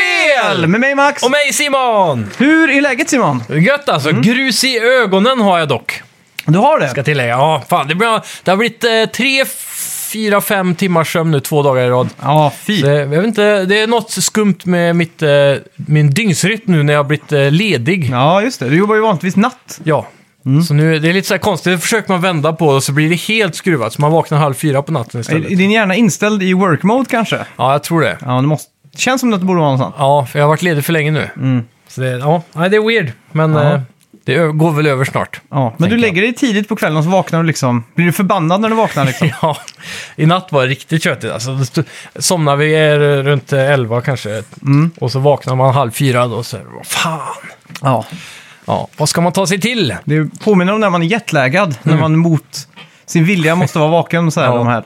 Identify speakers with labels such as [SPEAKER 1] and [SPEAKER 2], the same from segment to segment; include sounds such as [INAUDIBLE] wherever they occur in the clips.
[SPEAKER 1] Kväll med mig Max!
[SPEAKER 2] Och mig Simon!
[SPEAKER 1] Hur är läget Simon?
[SPEAKER 2] Gött alltså. Grus i ögonen har jag dock.
[SPEAKER 1] Du har det?
[SPEAKER 2] Ska tillägga. Ja, fan. Det, blir, det har blivit eh, tre, fyra, fem timmars sömn nu två dagar i rad.
[SPEAKER 1] Ja, fint.
[SPEAKER 2] Så, eh, jag vet inte, det är något skumt med mitt, eh, min dygnsrytm nu när jag har blivit eh, ledig. Ja. Mm.
[SPEAKER 1] Ja, just det. Du jobbar ju vanligtvis natt.
[SPEAKER 2] Så nu, det är lite så här konstigt, det försöker man vända på och så blir det helt skruvat. Så man vaknar halv fyra på natten
[SPEAKER 1] Är
[SPEAKER 2] istället.
[SPEAKER 1] är din hjärna inställd i work mode kanske?
[SPEAKER 2] Ja, jag tror det.
[SPEAKER 1] Ja, det måste... känns som att det borde vara något sånt.
[SPEAKER 2] Ja, för jag har varit ledig för länge nu. Så det, ja, nej, det är weird. Men
[SPEAKER 1] Ja.
[SPEAKER 2] eh, det ö- går väl över snart.
[SPEAKER 1] Ja, men du
[SPEAKER 2] Tänker
[SPEAKER 1] lägger dig tidigt på kvällen och så vaknar du liksom. Blir du förbannad när du vaknar liksom?
[SPEAKER 2] [LAUGHS] Ja, i natt var det riktigt tjötigt. Alltså, då st- somnade vi eh, runt eh, 11 kanske. Och så vaknar man halv fyra då och så vad fan.
[SPEAKER 1] [LAUGHS] ja.
[SPEAKER 2] Ja, vad ska man ta sig till?
[SPEAKER 1] Det påminner om när man är jetlaggad. När man mot sin vilja måste vara vaken [LAUGHS] så här
[SPEAKER 2] Ja.
[SPEAKER 1] de här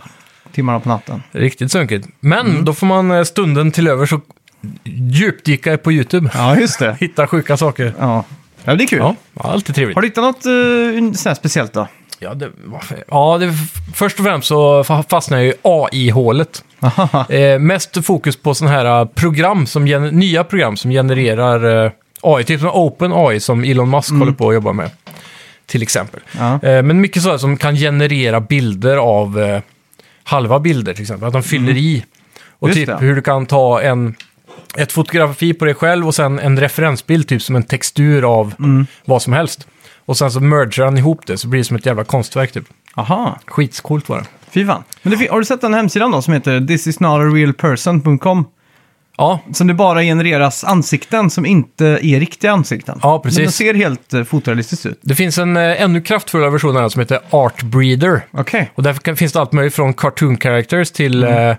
[SPEAKER 1] timmarna på natten.
[SPEAKER 2] Riktigt sunkigt. Men då får man eh, stunden till över så djupdyka på YouTube.
[SPEAKER 1] Ja, just det.
[SPEAKER 2] [LAUGHS] Hitta sjuka saker.
[SPEAKER 1] Ja, ja det är kul.
[SPEAKER 2] Ja, ja, alltid trevligt.
[SPEAKER 1] Har du hittat något uh, sånt här speciellt då?
[SPEAKER 2] Ja, det, varför- ja det, först och främst så fa- fastnar jag i [LAUGHS] AI-hålet. Eh, mest fokus på sådana här eh, program som gen- nya program som genererar eh, AI, typ som Open AI som Elon Musk håller på att jobba med. Till exempel.
[SPEAKER 1] Ja.
[SPEAKER 2] Eh, men mycket sådär som kan generera bilder av eh, halva bilder till exempel. Att de fyller i. Och
[SPEAKER 1] Just
[SPEAKER 2] typ
[SPEAKER 1] det.
[SPEAKER 2] hur du kan ta en, ett fotografi på dig själv och sen en referensbild, typ som en textur av
[SPEAKER 1] Mm.
[SPEAKER 2] vad som helst. Och sen så merger han ihop det, så blir det som ett jävla konstverk typ.
[SPEAKER 1] Aha.
[SPEAKER 2] Skitscoolt var det.
[SPEAKER 1] Fy fan. Men det, fin- har du sett den hemsidan då som heter thisisnotarealperson.com?
[SPEAKER 2] Ja,
[SPEAKER 1] Som det bara genereras ansikten som inte är riktiga ansikten.
[SPEAKER 2] Ja, precis.
[SPEAKER 1] Men det ser helt eh, fotorealistiskt ut.
[SPEAKER 2] det finns en eh, ännu kraftfullare version av den som heter Art Breeder.
[SPEAKER 1] Okej.
[SPEAKER 2] Och där kan- finns det allt möjligt från cartoon characters till
[SPEAKER 1] Mm.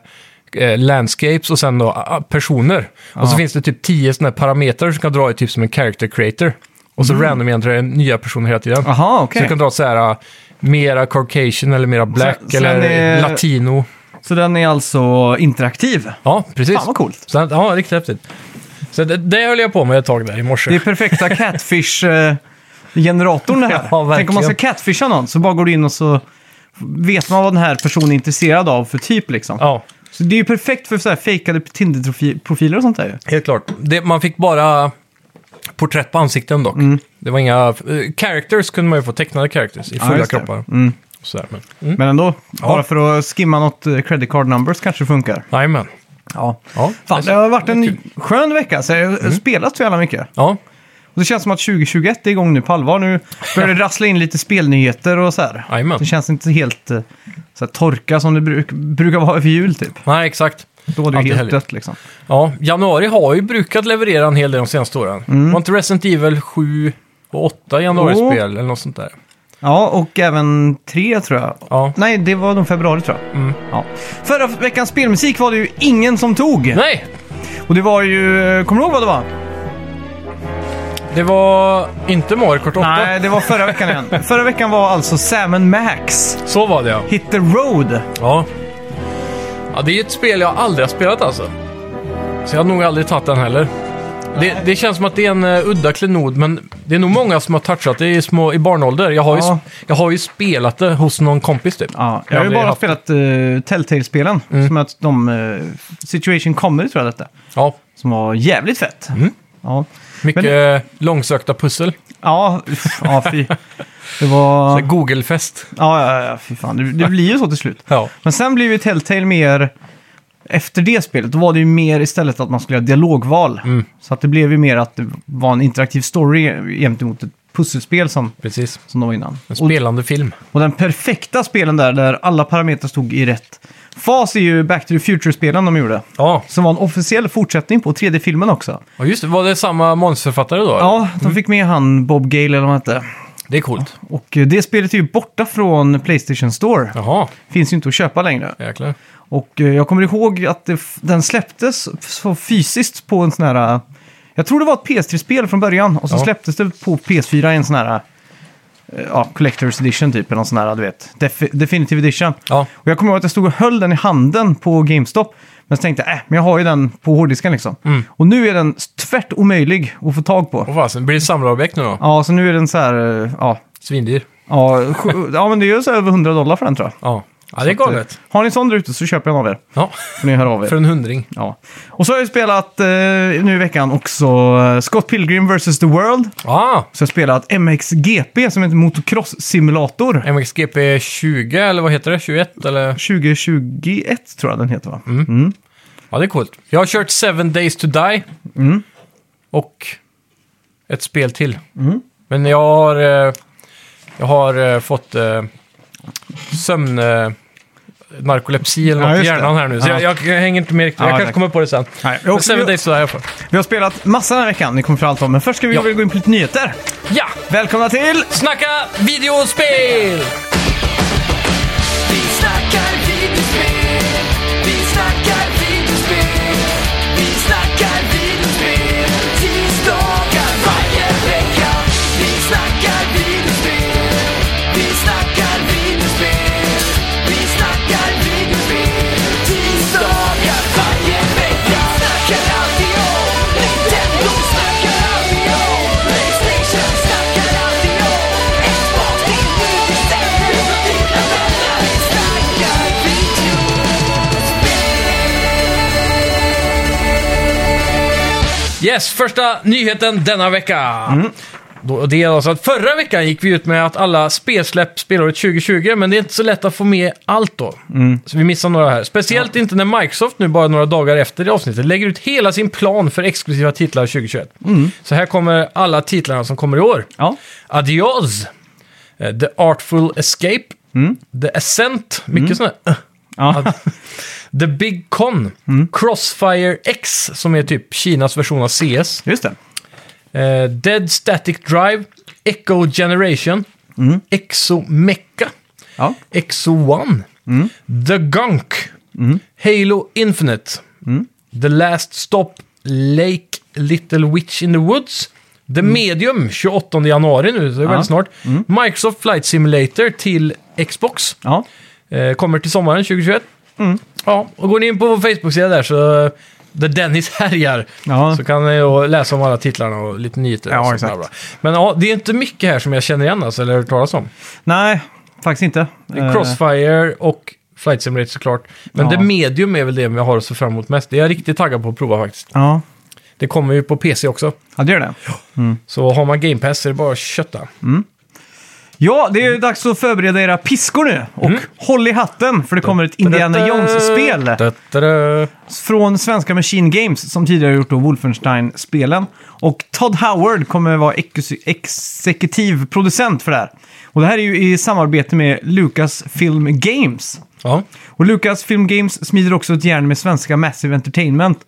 [SPEAKER 2] eh, eh, landscapes och sen då ah, personer. Och så finns det typ tio sådana här parametrar som kan dra i typ som en character creator. Och så random ändrar den nya personer hela tiden.
[SPEAKER 1] Mm. Aha, okej.
[SPEAKER 2] Så du kan dra så här, ah, mera caucasian eller mera black
[SPEAKER 1] Så- så
[SPEAKER 2] eller
[SPEAKER 1] den är-
[SPEAKER 2] latino.
[SPEAKER 1] Så den är alltså interaktiv.
[SPEAKER 2] Ja, precis.
[SPEAKER 1] Fan vad coolt.
[SPEAKER 2] Så, att- ja, riktigt häftigt. Så det, det höll jag på med ett tag där i morse.
[SPEAKER 1] Det är
[SPEAKER 2] [LAUGHS]
[SPEAKER 1] perfekta catfish-generatorn det här.
[SPEAKER 2] Ja, verkligen.
[SPEAKER 1] Tänk om man ska catfisha någon så bara går du in och så vet man vad den här personen är intresserad av för typ liksom.
[SPEAKER 2] Ja,
[SPEAKER 1] Så det är ju perfekt för så här fejkade Tinder-profiler och sånt där ju.
[SPEAKER 2] helt klart. Det, man fick bara porträtt på ansikten dock.
[SPEAKER 1] Mm.
[SPEAKER 2] Det var inga... eh, characters kunde man ju få, tecknade characters i fulla
[SPEAKER 1] just det. Mm.
[SPEAKER 2] kroppar. Och Sådär, men. mm.
[SPEAKER 1] Men ändå, bara för att skimma något eh, credit card numbers kanske det funkar.
[SPEAKER 2] Jajamän.
[SPEAKER 1] Ja.
[SPEAKER 2] Ja.
[SPEAKER 1] Fan, det har varit en skön vecka, så jag har
[SPEAKER 2] Mm.
[SPEAKER 1] spelat så jävla mycket.
[SPEAKER 2] Ja.
[SPEAKER 1] Och det känns som att 2021 är igång nu på allvar. Nu börjar det rassla in lite spelnyheter och så här.
[SPEAKER 2] Jajamän.
[SPEAKER 1] Det känns inte helt eh, så här, torka som det bruk, brukar vara över jul typ.
[SPEAKER 2] Nej, exakt.
[SPEAKER 1] Då var det ju
[SPEAKER 2] Alltid
[SPEAKER 1] helt
[SPEAKER 2] härligt.
[SPEAKER 1] dött liksom.
[SPEAKER 2] Ja, januari har ju brukat leverera en hel del de senaste åren. Var inte Resident Evil 7 och 8 januarispel eller något sånt där?
[SPEAKER 1] Ja, och även tre tror jag.
[SPEAKER 2] Ja.
[SPEAKER 1] Nej, det var nog februari tror jag.
[SPEAKER 2] Mm.
[SPEAKER 1] Ja. Förra veckans spelmusik var det ju ingen som tog.
[SPEAKER 2] Nej,
[SPEAKER 1] Och det var ju, eh, kommer du ihåg vad det var?
[SPEAKER 2] det var inte Mario Kart 8.
[SPEAKER 1] Nej, det var förra veckan igen. förra veckan var alltså Sam Max
[SPEAKER 2] Så var det ja.
[SPEAKER 1] Hit the Road.
[SPEAKER 2] Ja. ja. Det är ju ett spel jag aldrig har spelat alltså. Så jag hade nog aldrig tagit den heller. Det, det känns som att det är en eh, udda klenod, men det är nog många som har touchat det i, små, i barnålder. Jag har, ju,
[SPEAKER 1] Ja.
[SPEAKER 2] sp- jag har ju spelat det hos någon kompis typ.
[SPEAKER 1] Ja,
[SPEAKER 2] Men
[SPEAKER 1] jag har Mm. ju
[SPEAKER 2] aldrig
[SPEAKER 1] bara
[SPEAKER 2] haft-
[SPEAKER 1] spelat uh, Telltale-spelen. Som att de... eh, Situation Comedy tror jag detta.
[SPEAKER 2] Ja,
[SPEAKER 1] Som var jävligt fett. Ja,
[SPEAKER 2] mycket
[SPEAKER 1] Men-
[SPEAKER 2] eh, långsökta pussel.
[SPEAKER 1] ja, uff, ja fy. Det var...
[SPEAKER 2] Så här Google-fest.
[SPEAKER 1] Ja, ja, ja, fy fan. Det, det blir ju så till slut.
[SPEAKER 2] Ja.
[SPEAKER 1] Men sen blev ju Telltale mer... Efter det spelet då var det ju mer istället att man skulle göra dialogval. Så att det blev ju mer att det var en interaktiv story gentemot ett pusselspel som,
[SPEAKER 2] Precis.
[SPEAKER 1] som det var innan.
[SPEAKER 2] En
[SPEAKER 1] Och
[SPEAKER 2] spelande film.
[SPEAKER 1] Och den perfekta spelen där, där alla parametrar stod i rätt fas, är ju Back to the Future-spelen de gjorde.
[SPEAKER 2] Ja.
[SPEAKER 1] Som var en officiell fortsättning på 3D-filmen också.
[SPEAKER 2] ja, just det. Var det samma manusförfattare då?
[SPEAKER 1] Ja, de fick med han Bob Gale eller vad han hette.
[SPEAKER 2] Det är coolt.
[SPEAKER 1] Och eh, det spelet är ju borta från Playstation Store.
[SPEAKER 2] Jaha,
[SPEAKER 1] Finns ju inte att köpa längre.
[SPEAKER 2] jäklar.
[SPEAKER 1] Och eh, jag kommer ihåg att det, f- den släpptes f- så fysiskt på en sån här... eh, Jag tror det var ett PS3-spel från början och så
[SPEAKER 2] Ja.
[SPEAKER 1] släpptes det på PS4 i en sån här... eh, Ja, Collector's Edition typ, eller någon sån här, du vet. Def- Definitive Edition.
[SPEAKER 2] Ja,
[SPEAKER 1] Och jag kommer ihåg att jag stod och höll den i handen på GameStop. Men så tänkte jag, äh, men jag har ju den på hårddisken liksom.
[SPEAKER 2] Mm.
[SPEAKER 1] Och nu är den tvärt omöjlig att få tag på.
[SPEAKER 2] och fasen. Blir det samlarobjekt nu då?
[SPEAKER 1] Ja, så nu är den så här, eh, ja.
[SPEAKER 2] Svindyr.
[SPEAKER 1] Ja, sju- ja men det är ju så här över 100 dollar för den tror jag.
[SPEAKER 2] Ja. Ja, det är
[SPEAKER 1] Så att, eh,
[SPEAKER 2] galet.
[SPEAKER 1] Har ni en sån där ute så köper jag en av er.
[SPEAKER 2] Ja,
[SPEAKER 1] Får ni höra av er.
[SPEAKER 2] för en hundring.
[SPEAKER 1] Ja. Och så har jag spelat eh, nu i veckan också eh, Scott Pilgrim vs. The World.
[SPEAKER 2] Ah,
[SPEAKER 1] Så jag har spelat MXGP som är en motocross-simulator.
[SPEAKER 2] MXGP 20 eller vad heter det? 21 eller?
[SPEAKER 1] 2021 tror jag den heter
[SPEAKER 2] Mm.
[SPEAKER 1] va?
[SPEAKER 2] Ja, det är coolt. Jag har kört Seven Days to Die.
[SPEAKER 1] Mm.
[SPEAKER 2] Och ett spel till.
[SPEAKER 1] Mm.
[SPEAKER 2] Men jag har, eh, jag har eh, fått eh, sömn... Eh, narkolepsi eller
[SPEAKER 1] Ja,
[SPEAKER 2] något i
[SPEAKER 1] just det.
[SPEAKER 2] hjärnan här nu. Så
[SPEAKER 1] Ja.
[SPEAKER 2] jag, jag hänger inte med riktigt.
[SPEAKER 1] Ja,
[SPEAKER 2] jag kanske
[SPEAKER 1] tack.
[SPEAKER 2] kommer på det sen.
[SPEAKER 1] Nej, jag
[SPEAKER 2] Men
[SPEAKER 1] också-
[SPEAKER 2] Seven Days to Die har jag fått.
[SPEAKER 1] Vi har spelat massa den här veckan, ni kommer för allt om. Men först ska vi
[SPEAKER 2] Ja.
[SPEAKER 1] väl gå in på lite nyheter.
[SPEAKER 2] Ja!
[SPEAKER 1] Välkomna till...
[SPEAKER 2] Snacka videospel!
[SPEAKER 3] Vi snackar videospel, vi snackar videospel, vi snackar videospel, tisdagar varje vecka. Vi snackar videospel, vi snackar videospel, vi snackar videospel, tisdagar varje vecka. Snackar alltid om Nintendo, snackar alltid om Playstation, snackar alltid om Xbox, din videospel, dina vänner. Vi snackar videospel.
[SPEAKER 2] Yes, första nyheten denna vecka. Då, det är alltså att förra veckan gick vi ut med att alla spelsläpp spelåret 2020, men det är inte så lätt att få med allt då. Så vi missar några här. Speciellt inte när Microsoft nu bara några dagar efter det avsnittet lägger ut hela sin plan för exklusiva titlar 2021. Så här kommer alla titlarna som kommer i år.
[SPEAKER 1] Ja.
[SPEAKER 2] Adios, eh, The Artful Escape, The Ascent, mycket sådana här eh,
[SPEAKER 1] Ja.
[SPEAKER 2] The Big Con, Crossfire X som är typ Kinas version av CS,
[SPEAKER 1] Just det.
[SPEAKER 2] eh, Dead Static Drive, Echo Generation, Exo Mecha,
[SPEAKER 1] Ja.
[SPEAKER 2] Exo One,
[SPEAKER 1] Mm.
[SPEAKER 2] The Gunk, Halo Infinite,
[SPEAKER 1] Mm.
[SPEAKER 2] The Last Stop, Lake Little Witch in the Woods, The
[SPEAKER 1] Mm.
[SPEAKER 2] Medium 28 januari nu, så det är väldigt snart, Microsoft Flight Simulator till Xbox.
[SPEAKER 1] Ja.
[SPEAKER 2] Eh, kommer till sommaren 2021.
[SPEAKER 1] Mm.
[SPEAKER 2] Ja, och går ni in på vår Facebook-sida där så eh, där Dennis [LAUGHS] härjar
[SPEAKER 1] Ja.
[SPEAKER 2] så kan ni då läsa om alla titlarna och lite nyheter. och
[SPEAKER 1] Ja,
[SPEAKER 2] sånt
[SPEAKER 1] exakt.
[SPEAKER 2] där bra. Men ja, det är inte mycket här som jag känner igen alltså, eller hört talas om.
[SPEAKER 1] Nej, faktiskt inte.
[SPEAKER 2] Det är Crossfire och Flight Simulator såklart. Men
[SPEAKER 1] Eh. Ja.
[SPEAKER 2] det medium är väl det vi har att se fram emot mest. Det är jag riktigt taggad på att prova faktiskt.
[SPEAKER 1] Ja.
[SPEAKER 2] Det kommer ju på PC också.
[SPEAKER 1] ja, det gör det.
[SPEAKER 2] Så har man Game Pass så är det bara att kötta.
[SPEAKER 1] Mm. Ja, det är ju dags att förbereda era piskor nu. Och
[SPEAKER 2] Mm.
[SPEAKER 1] håll i hatten, för det kommer ett Indiana Jones-spel.
[SPEAKER 2] Da-da-da.
[SPEAKER 1] från svenska Machine Games som tidigare gjort då Wolfenstein-spelen. Och Todd Howard kommer vara ex- exekutiv producent för det här. Och det här är ju i samarbete med Lucasfilm Games.
[SPEAKER 2] Ja,
[SPEAKER 1] Och Lucasfilm Games smider också ett järn med svenska Massive Entertainment.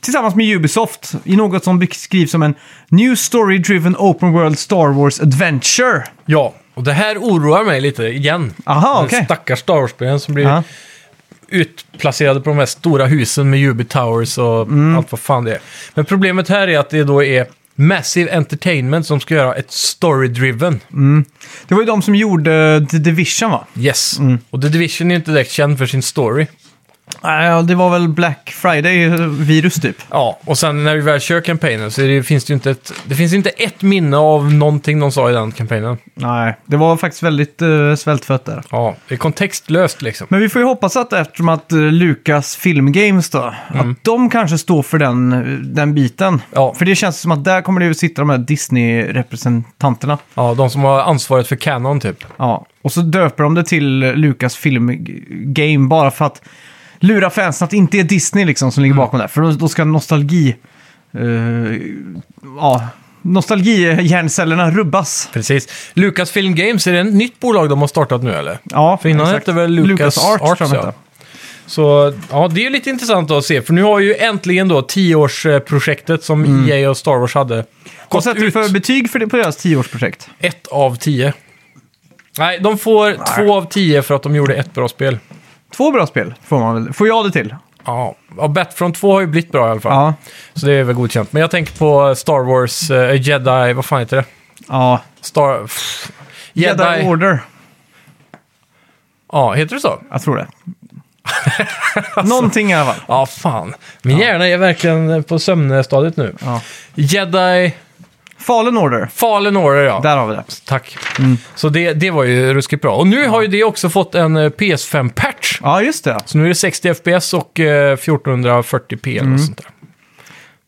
[SPEAKER 1] Tillsammans med Ubisoft i något som beskrivs som en New Story-Driven Open World Star Wars Adventure.
[SPEAKER 2] Ja, och det här oroar mig lite igen.
[SPEAKER 1] Aha,
[SPEAKER 2] Den
[SPEAKER 1] okej.
[SPEAKER 2] Stackars Star Wars-spelen som blir
[SPEAKER 1] Ja.
[SPEAKER 2] utplacerade på de här stora husen med Ubi Towers och
[SPEAKER 1] Mm.
[SPEAKER 2] allt vad fan det är. Men problemet här är att det då är Massive Entertainment som ska göra ett story-driven.
[SPEAKER 1] Det var ju de som gjorde The Division va?
[SPEAKER 2] Yes. Och The Division är ju inte direkt känd för sin story.
[SPEAKER 1] Äh, det var väl Black Friday-virus typ.
[SPEAKER 2] Ja, och sen när vi väl kör kampanjen så är det, finns det ju inte ett, det finns inte ett minne av någonting de sa i den kampanjen.
[SPEAKER 1] Nej, det var faktiskt väldigt uh, svältfött där.
[SPEAKER 2] Ja, det är kontextlöst liksom.
[SPEAKER 1] Men vi får ju hoppas att eftersom att eh, Lucas Film Games då, att de kanske står för den, eh, den biten.
[SPEAKER 2] Ja.
[SPEAKER 1] För det känns som att där kommer det ju sitta de här Disney-representanterna.
[SPEAKER 2] Ja, de som har ansvaret för Canon typ.
[SPEAKER 1] Ja. Och så döper de det till Lucas Film G- Game bara för att lura fansen att det inte är Disney liksom som ligger
[SPEAKER 2] Mm.
[SPEAKER 1] bakom det. här. För då, då ska nostalgi... Uh, ja, nostalgihjärncellerna rubbas.
[SPEAKER 2] Precis. Lucasfilm Games, är det ett nytt bolag de har startat nu eller?
[SPEAKER 1] Ja,
[SPEAKER 2] För innan hette väl Lucas, Arts,
[SPEAKER 1] tror jag de
[SPEAKER 2] ja.
[SPEAKER 1] hette.
[SPEAKER 2] Så ja, det är ju lite intressant att se. För nu har ju äntligen då tioårsprojektet som EA och Star Wars hade
[SPEAKER 1] Vad
[SPEAKER 2] Mm. gått
[SPEAKER 1] sätter du
[SPEAKER 2] ut.
[SPEAKER 1] för betyg för det på deras tioårsprojekt?
[SPEAKER 2] Ett av tio. Nej, de får två av tio för att de gjorde ett bra spel.
[SPEAKER 1] Två bra spel får man väl. Får jag det till?
[SPEAKER 2] Ja, ja Battlefront 2 har ju blivit bra i alla fall.
[SPEAKER 1] Ja.
[SPEAKER 2] Så det är väl godkänt. Men jag tänker på Star Wars, eh, Jedi, vad fan heter det?
[SPEAKER 1] Ja.
[SPEAKER 2] Star... Pff,
[SPEAKER 1] Jedi. Order.
[SPEAKER 2] Ja, heter det så?
[SPEAKER 1] Jag
[SPEAKER 2] [LAUGHS]
[SPEAKER 1] tror det. Någonting i alla fall.
[SPEAKER 2] Ja, fan. Min hjärna är verkligen på sömnstadiet nu.
[SPEAKER 1] Ja.
[SPEAKER 2] Jedi...
[SPEAKER 1] Fallen Order.
[SPEAKER 2] Fallen Order, ja.
[SPEAKER 1] Där Mm. har vi det.
[SPEAKER 2] Tack. Så det, det var ju ruskigt bra. Och nu har ju det också fått en eh, PS5-patch.
[SPEAKER 1] Ja, just det.
[SPEAKER 2] Så nu är det 60 FPS och eh, 1440p eller något sånt där.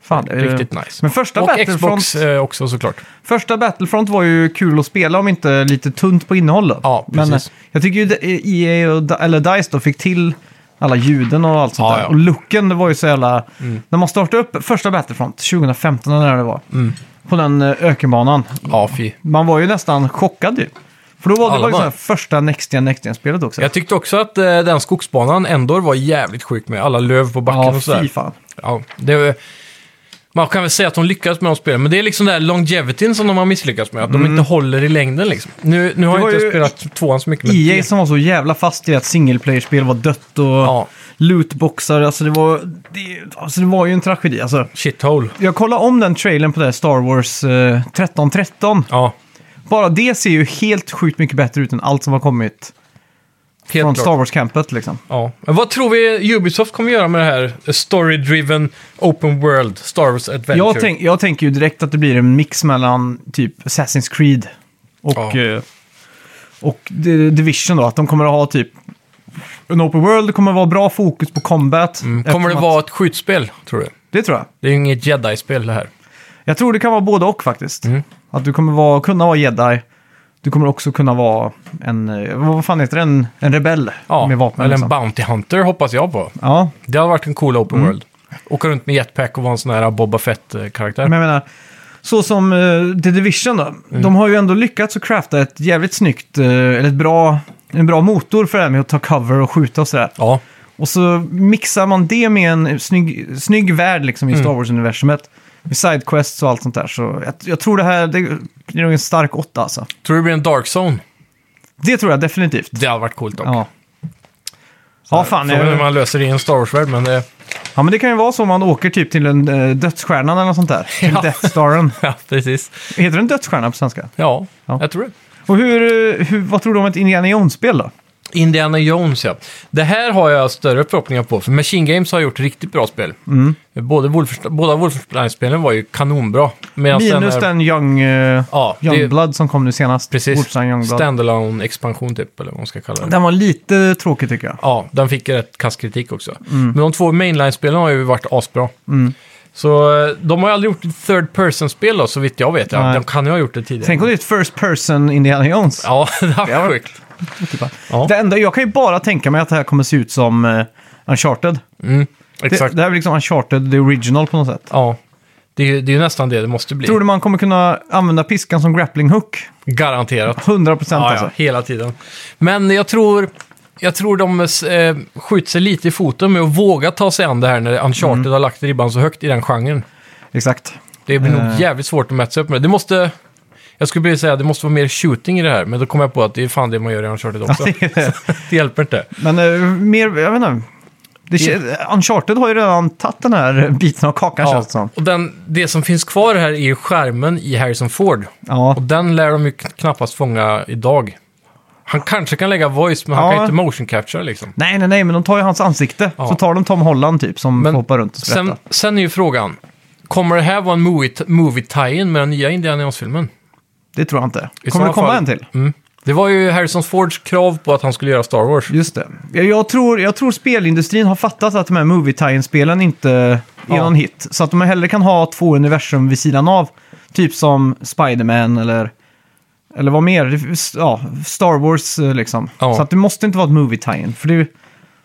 [SPEAKER 1] Fan, eh,
[SPEAKER 2] Riktigt nice.
[SPEAKER 1] Mm. Men första
[SPEAKER 2] och
[SPEAKER 1] Battlefront,
[SPEAKER 2] Xbox eh, också såklart.
[SPEAKER 1] första Battlefront var ju kul att spela om inte lite tunt på innehåll. Då.
[SPEAKER 2] Ja,
[SPEAKER 1] Men eh,
[SPEAKER 2] precis.
[SPEAKER 1] jag tycker ju de- EA och, D- eller DICE då fick till alla ljuden och allt sånt
[SPEAKER 2] Ja,
[SPEAKER 1] där.
[SPEAKER 2] ja. Mm.
[SPEAKER 1] Och looken, det var ju så jävla... När man startade upp första Battlefront, 2015 eller när det var,
[SPEAKER 2] Mm.
[SPEAKER 1] på den eh, ökenbanan.
[SPEAKER 2] Ja, fy.
[SPEAKER 1] Man var ju nästan chockad ju. För då var det
[SPEAKER 2] Alla
[SPEAKER 1] var ju
[SPEAKER 2] var.
[SPEAKER 1] så här första Next Gen, Next Gen-spelet också.
[SPEAKER 2] Jag tyckte också att eh, den skogsbanan ändå var jävligt sjuk med alla löv på backen
[SPEAKER 1] ja,
[SPEAKER 2] och sådär.
[SPEAKER 1] fy fan.
[SPEAKER 2] Ja, det, var- man kan väl säga att de lyckades med de spelen, men det är liksom den här longevityn som de har misslyckats med. Att de inte håller i längden liksom. Nu, nu har
[SPEAKER 1] Mm. Det var
[SPEAKER 2] jag inte
[SPEAKER 1] ju- E
[SPEAKER 2] spelat tvåan så mycket. men
[SPEAKER 1] EA
[SPEAKER 2] det-
[SPEAKER 1] som var så jävla fast i att singleplayer-spel var dött och
[SPEAKER 2] Ja.
[SPEAKER 1] lootboxar, alltså det var, det, alltså det var ju en tragedi. Alltså,
[SPEAKER 2] Shithole.
[SPEAKER 1] jag kollade om den trailern på det här Star Wars eh, 1313.
[SPEAKER 2] Ja,
[SPEAKER 1] Bara det ser ju helt sjukt mycket bättre ut än allt som har kommit
[SPEAKER 2] helt
[SPEAKER 1] från
[SPEAKER 2] klart.
[SPEAKER 1] Star Wars-campet liksom.
[SPEAKER 2] Ja. Men vad tror vi Ubisoft kommer göra med det här eh, story-driven open world Star Wars Adventure?
[SPEAKER 1] Jag, tänk, jag tänker ju direkt att det blir en mix mellan typ Assassin's Creed och,
[SPEAKER 2] Ja.
[SPEAKER 1] eh, och D- Division då. Att de kommer att ha typ en open world, det kommer att vara bra fokus på combat.
[SPEAKER 2] Mm, Kommer det
[SPEAKER 1] Eftersom
[SPEAKER 2] vara
[SPEAKER 1] Att,
[SPEAKER 2] ett skjutspel, tror du?
[SPEAKER 1] det tror jag.
[SPEAKER 2] Det är ju inget jedi-spel det här.
[SPEAKER 1] Jag tror det kan vara både och faktiskt.
[SPEAKER 2] Mm.
[SPEAKER 1] Att du kommer vara, kunna vara jedi. Du kommer också kunna vara en, eh, vad fan heter det, en, en rebell
[SPEAKER 2] Ja,
[SPEAKER 1] med vapen.
[SPEAKER 2] eller en
[SPEAKER 1] liksom.
[SPEAKER 2] Bounty Hunter hoppas jag på.
[SPEAKER 1] Ja,
[SPEAKER 2] Det hade varit en cool open
[SPEAKER 1] Mm.
[SPEAKER 2] world. Åka runt med jetpack och vara en sån här Boba Fett-karaktär.
[SPEAKER 1] men jag menar, så som eh, The Division då.
[SPEAKER 2] Mm.
[SPEAKER 1] De har ju ändå lyckats att crafta ett jävligt snyggt, eh, eller ett bra, en bra motor för det här med att ta cover och skjuta och sådär.
[SPEAKER 2] Ja,
[SPEAKER 1] Och så mixar man det med en snygg, snygg värld liksom
[SPEAKER 2] Mm.
[SPEAKER 1] i Star Wars-universumet. Med sidequests och allt sånt där. Så jag, jag tror det här det blir nog en stark åtta alltså.
[SPEAKER 2] tror du det blir en Dark Zone?
[SPEAKER 1] Det tror jag definitivt.
[SPEAKER 2] Det hade varit coolt dock.
[SPEAKER 1] Ja. Ja, fan.
[SPEAKER 2] Frågan är hur
[SPEAKER 1] Jag,
[SPEAKER 2] man löser det i en Star Wars-värld, men det...
[SPEAKER 1] ja, men det kan ju vara så om man åker typ till en eh, dödsstjärna eller något sånt där. Till
[SPEAKER 2] [LAUGHS] Ja.
[SPEAKER 1] Death Staren.
[SPEAKER 2] Ja, precis.
[SPEAKER 1] Heter den dödsstjärna på svenska?
[SPEAKER 2] Ja,
[SPEAKER 1] Ja.
[SPEAKER 2] jag tror det.
[SPEAKER 1] Och hur, eh, hur, vad tror du om ett Indiana Jones-spel då?
[SPEAKER 2] Indiana Jones, ja. Det här har jag större förhoppningar på, för Machine Games har gjort riktigt bra spel.
[SPEAKER 1] Mm.
[SPEAKER 2] Både Wolfenstein- båda Wolfenstein-spelen var ju kanonbra. Medan
[SPEAKER 1] Minus
[SPEAKER 2] här-
[SPEAKER 1] den Young, eh,
[SPEAKER 2] Ja, det-
[SPEAKER 1] Youngblood som kom nu senast.
[SPEAKER 2] Precis.
[SPEAKER 1] Wolfenstein Youngblood.
[SPEAKER 2] standalone expansion typ, eller vad man ska kalla det.
[SPEAKER 1] Den var lite tråkig tycker jag.
[SPEAKER 2] Ja, den fick rätt kass kritik också.
[SPEAKER 1] Mm.
[SPEAKER 2] Men de två mainline-spelen har ju varit asbra. Så eh, de har ju aldrig gjort ett third person-spel då, så vitt jag vet. Ja.
[SPEAKER 1] Nej.
[SPEAKER 2] De kan ju ha gjort det tidigare.
[SPEAKER 1] Tänk om det är ett First Person Indiana Jones.
[SPEAKER 2] [LAUGHS] Ja, det
[SPEAKER 1] Det
[SPEAKER 2] var
[SPEAKER 1] var-
[SPEAKER 2] sjukt.
[SPEAKER 1] Typ.
[SPEAKER 2] Ja.
[SPEAKER 1] Det enda, jag kan ju bara tänka mig att det här kommer se ut som eh, Uncharted.
[SPEAKER 2] Mm,
[SPEAKER 1] Det,
[SPEAKER 2] exakt.
[SPEAKER 1] det här är liksom Uncharted, the original på något sätt.
[SPEAKER 2] Ja. Det, är ju- det är ju nästan det det måste bli.
[SPEAKER 1] Tror du man kommer kunna använda piskan som grappling hook? [LAUGHS]
[SPEAKER 2] Garanterat.
[SPEAKER 1] 100 procent
[SPEAKER 2] Ja,
[SPEAKER 1] alltså.
[SPEAKER 2] ja, hela tiden. Men jag tror, jag tror de eh, skjuter sig lite i foten med att våga ta sig an det här när Uncharted
[SPEAKER 1] Mm.
[SPEAKER 2] har lagt ribban så högt i den genren.
[SPEAKER 1] Exakt. [LAUGHS]
[SPEAKER 2] Det blir nog
[SPEAKER 1] Eh.
[SPEAKER 2] jävligt svårt att mäta sig upp med. Det måste... Jag skulle vilja säga att det måste vara mer shooting i det här, men då kom jag på att det är fan det man gör i Uncharted också. [LAUGHS] det hjälper inte.
[SPEAKER 1] Men eh, mer, jag vet inte. Det, kä- Uncharted har ju redan tagit den här biten av kakan
[SPEAKER 2] Ja.
[SPEAKER 1] känns det som.
[SPEAKER 2] Och den, det som finns kvar här är ju skärmen i Harrison Ford.
[SPEAKER 1] Ja.
[SPEAKER 2] Och den lär de ju kn- knappast fånga idag. Han kanske kan lägga voice, men han
[SPEAKER 1] Ja.
[SPEAKER 2] kan ju inte motion capture liksom.
[SPEAKER 1] Nej, nej, nej, men de tar ju hans ansikte.
[SPEAKER 2] Ja.
[SPEAKER 1] Så tar de Tom Holland typ som
[SPEAKER 2] Men
[SPEAKER 1] får hoppa runt och sprätta.
[SPEAKER 2] Sen, sen är ju frågan, kommer det här vara en movie- movie-tie-in med den nya Indiana Jones-filmen?
[SPEAKER 1] Det tror jag inte.
[SPEAKER 2] I
[SPEAKER 1] Kommer det
[SPEAKER 2] sådana
[SPEAKER 1] komma
[SPEAKER 2] fall-
[SPEAKER 1] en till?
[SPEAKER 2] Mm. Det var ju Harrison Fords krav på att han skulle göra Star Wars.
[SPEAKER 1] Just det. Jag, jag, tror, jag tror spelindustrin har fattat att de här movie tie spelen inte är
[SPEAKER 2] Ja.
[SPEAKER 1] någon hit. Så att de hellre kan ha två universum vid sidan av. Typ som Spider-Man eller... Eller vad mer? Det finns- Ja, Star Wars eh, liksom.
[SPEAKER 2] Ja.
[SPEAKER 1] Så att det måste inte vara ett movie tie För det, är ju-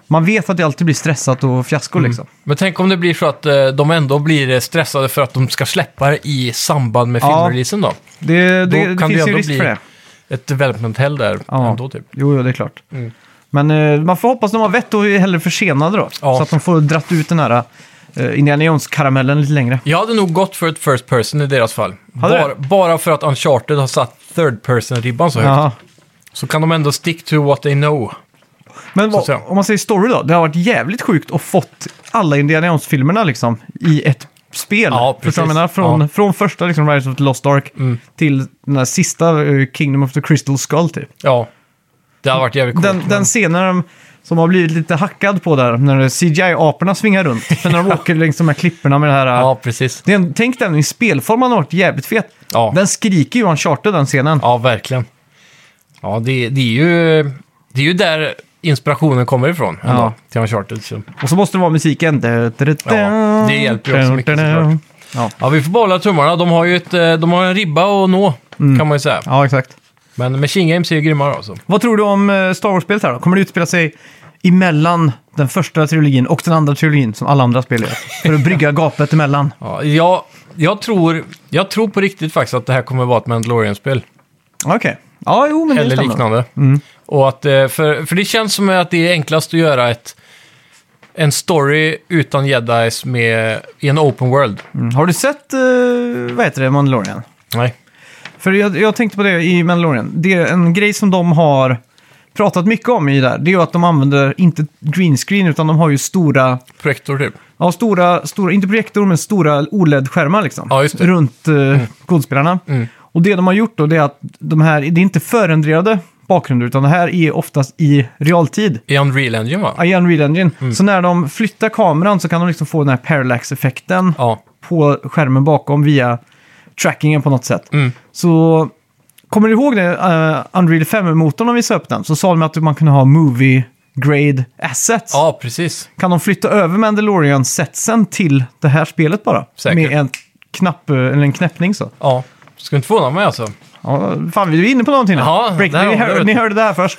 [SPEAKER 1] man vet att det alltid blir stressat och fiasko liksom.
[SPEAKER 2] Men tänk om det blir så att eh, de ändå blir eh, stressade för att de ska släppa det i samband med
[SPEAKER 1] Ja.
[SPEAKER 2] filmreleasen då.
[SPEAKER 1] Det,
[SPEAKER 2] Då
[SPEAKER 1] det, det
[SPEAKER 2] kan det
[SPEAKER 1] finns ju
[SPEAKER 2] ändå
[SPEAKER 1] risk
[SPEAKER 2] bli-
[SPEAKER 1] för det.
[SPEAKER 2] Ett development hell där
[SPEAKER 1] Ja.
[SPEAKER 2] ändå typ.
[SPEAKER 1] Jo, jo, det är klart. Men eh, man får hoppas de har vett och är hellre försenade då.
[SPEAKER 2] Ja.
[SPEAKER 1] Så att de får dratt ut den här eh, Indiana Jones-karamellen lite längre.
[SPEAKER 2] Jag hade nog gått för ett first person i deras fall.
[SPEAKER 1] Hade
[SPEAKER 2] Bara, bara för att Uncharted har satt third person-ribban så högt.
[SPEAKER 1] Ja.
[SPEAKER 2] Så kan de ändå stick to what they know.
[SPEAKER 1] Men
[SPEAKER 2] att
[SPEAKER 1] vad,
[SPEAKER 2] säga.
[SPEAKER 1] om man säger story då, det har varit jävligt sjukt att fått alla Indiana Jones-filmerna liksom i ett spel.
[SPEAKER 2] Ja,
[SPEAKER 1] Förstår du vad jag
[SPEAKER 2] precis.
[SPEAKER 1] menar? Från,
[SPEAKER 2] Ja. Mm.
[SPEAKER 1] från första liksom, Rise of the Lost Ark till den här sista eh, Kingdom of the Crystal Skull typ.
[SPEAKER 2] Ja, det hade varit jävligt coolt.
[SPEAKER 1] Den,
[SPEAKER 2] men-
[SPEAKER 1] den scenen när de Som har blivit lite hackad på där när CGI-aporna svingar runt. Sen
[SPEAKER 2] [LAUGHS]
[SPEAKER 1] när de åker längs de här klipporna med det här... eh,
[SPEAKER 2] Ja, precis.
[SPEAKER 1] Det är en, tänk den i spelform har varit jävligt fet.
[SPEAKER 2] Ja.
[SPEAKER 1] Den skriker ju Uncharted den scenen.
[SPEAKER 2] Ja, verkligen. Ja, det, det, är ju, det är ju där inspirationen kommer ifrån. Ändå,
[SPEAKER 1] Ja.
[SPEAKER 2] Till Uncharted. Så.
[SPEAKER 1] Och så måste det vara musiken. Ja,
[SPEAKER 2] det hjälper ju också mycket, såklart.
[SPEAKER 1] Ja.
[SPEAKER 2] Ja, vi får bara hålla tummarna. De har ju ett, eh, de har en ribba att nå,
[SPEAKER 1] Mm.
[SPEAKER 2] kan man ju säga.
[SPEAKER 1] ja, exakt.
[SPEAKER 2] Men Machine Games är ju grymmare alltså.
[SPEAKER 1] Vad tror du om eh, Star Wars-spelet här då? Kommer det utspela sig emellan den första trilogin och den andra trilogin som alla andra spel gör? För att brygga gapet
[SPEAKER 2] [LAUGHS]
[SPEAKER 1] emellan.
[SPEAKER 2] Ja, jag, jag, tror, jag tror på riktigt faktiskt att det här kommer vara ett Mandalorian-spel.
[SPEAKER 1] Okej. Ja, jo, men det
[SPEAKER 2] Eller
[SPEAKER 1] stämmer. Mm.
[SPEAKER 2] liknande. Och att, eh, för, för det känns som att det är enklast att göra ett, en story utan jedis med, i en open world.
[SPEAKER 1] Mm. Har du sett, eh, vad heter det, Mandalorian?
[SPEAKER 2] Nej.
[SPEAKER 1] För jag, jag tänkte på det i Mandalorian. Det är en grej som de har pratat mycket om i där. Det är ju att de använder inte green screen utan de har ju stora,
[SPEAKER 2] Projektor typ.
[SPEAKER 1] ja stora, stora inte projektor men stora OLED-skärmar liksom.
[SPEAKER 2] Ja, just det. Mm.
[SPEAKER 1] Runt eh, godspelarna. Och det de har gjort då det är att de här, det är inte förändrade bakgrunder utan det här är oftast i realtid.
[SPEAKER 2] I Unreal Engine va?
[SPEAKER 1] I Unreal Engine.
[SPEAKER 2] Mm.
[SPEAKER 1] Så när de flyttar kameran så kan de liksom få den här parallax-effekten
[SPEAKER 2] Ja.
[SPEAKER 1] på skärmen bakom via trackingen på något sätt.
[SPEAKER 2] Mm.
[SPEAKER 1] Så kommer du ihåg det? eh, Unreal 5-motorn om vi söp den så sa de att man kunde ha movie grade assets.
[SPEAKER 2] ja, precis.
[SPEAKER 1] Kan de flytta över Mandalorian-setsen till det här spelet bara?
[SPEAKER 2] Säkert.
[SPEAKER 1] Med en knapp, eh, eller en knäppning så.
[SPEAKER 2] Ja. Ska inte förvåna mig alltså.
[SPEAKER 1] Ja, fan, vi är inne på någonting nu.
[SPEAKER 2] Ja,
[SPEAKER 1] Break,
[SPEAKER 2] där
[SPEAKER 1] ni,
[SPEAKER 2] har vi
[SPEAKER 1] hör,
[SPEAKER 2] det.
[SPEAKER 1] ni hörde det här
[SPEAKER 2] [LAUGHS]
[SPEAKER 1] först.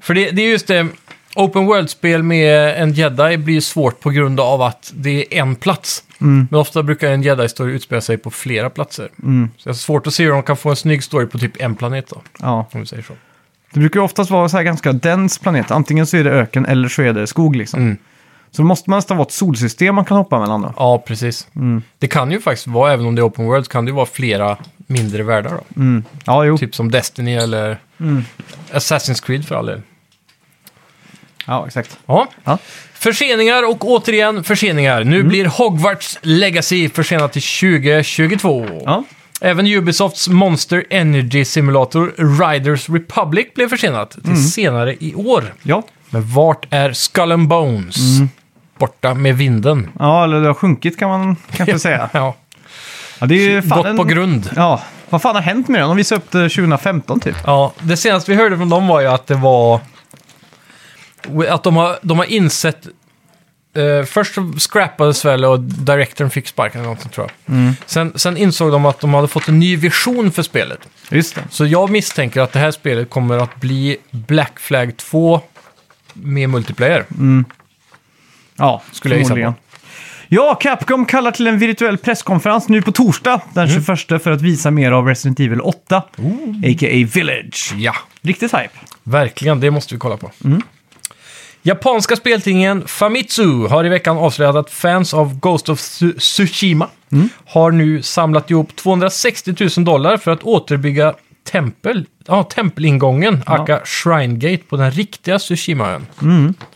[SPEAKER 2] För det, det är just det, open world-spel med en jedi blir ju svårt på grund av att det är en plats.
[SPEAKER 1] Mm.
[SPEAKER 2] Men ofta brukar en jedi-story utspela sig på flera platser.
[SPEAKER 1] Mm.
[SPEAKER 2] Så det är svårt att se hur de kan få en snygg story på typ en planet då,
[SPEAKER 1] ja.
[SPEAKER 2] om vi säger så.
[SPEAKER 1] Det brukar ju oftast vara så här ganska dens planet. Antingen så är det öken eller så är det skog liksom.
[SPEAKER 2] Mm.
[SPEAKER 1] Så då måste man nästan vara ett solsystem man kan hoppa mellan då.
[SPEAKER 2] Ja, precis. Mm. Det kan ju faktiskt vara, även om det är open world, så kan det ju vara flera mindre världar då.
[SPEAKER 1] Mm. Ja, jo.
[SPEAKER 2] Typ som Destiny eller Assassin's Creed för all del.
[SPEAKER 1] Ja, exakt.
[SPEAKER 2] Ja.
[SPEAKER 1] Ja. Mm.
[SPEAKER 2] Förseningar och återigen förseningar. Nu blir Hogwarts Legacy försenat till 2022.
[SPEAKER 1] Ja.
[SPEAKER 2] Även Ubisofts Monster Energy Simulator Riders Republic blev försenat till senare i år.
[SPEAKER 1] Ja.
[SPEAKER 2] Men vart är Skull and Bones? Borta med vinden.
[SPEAKER 1] ja, eller det har sjunkit kan man
[SPEAKER 2] [LAUGHS]
[SPEAKER 1] kanske säga.
[SPEAKER 2] Ja.
[SPEAKER 1] Ja, det är ju fan
[SPEAKER 2] Gått
[SPEAKER 1] en...
[SPEAKER 2] på grund.
[SPEAKER 1] Ja, vad fan har hänt med den? De visade upp det 2015 typ.
[SPEAKER 2] Ja, det senaste vi hörde från dem var ju att det var... Att de har, de har insett... Eh, först så scrappades väl och directorn fick sparken eller någonting tror jag. Sen, sen insåg de att de hade fått en ny vision för spelet.
[SPEAKER 1] Just det.
[SPEAKER 2] Så jag misstänker att det här spelet kommer att bli Black Flag 2 med multiplayer.
[SPEAKER 1] Ja,
[SPEAKER 2] Skulle jag gissa
[SPEAKER 1] förmodligen. Ja, Capcom kallar till en virtuell presskonferens nu på torsdag den
[SPEAKER 2] Mm.
[SPEAKER 1] 21 för att visa mer av Resident Evil 8, a.k.a. Village.
[SPEAKER 2] Ja,
[SPEAKER 1] Riktigt hype.
[SPEAKER 2] verkligen. Det måste vi kolla på. Japanska speltingen Famitsu har i veckan avslöjat att fans av Ghost of Tsu- Tsushima har nu samlat ihop 260 000 dollar för att återbygga tempel, ja, tempelingången, aka Shrine Gate, på den riktiga Tsushima-ön.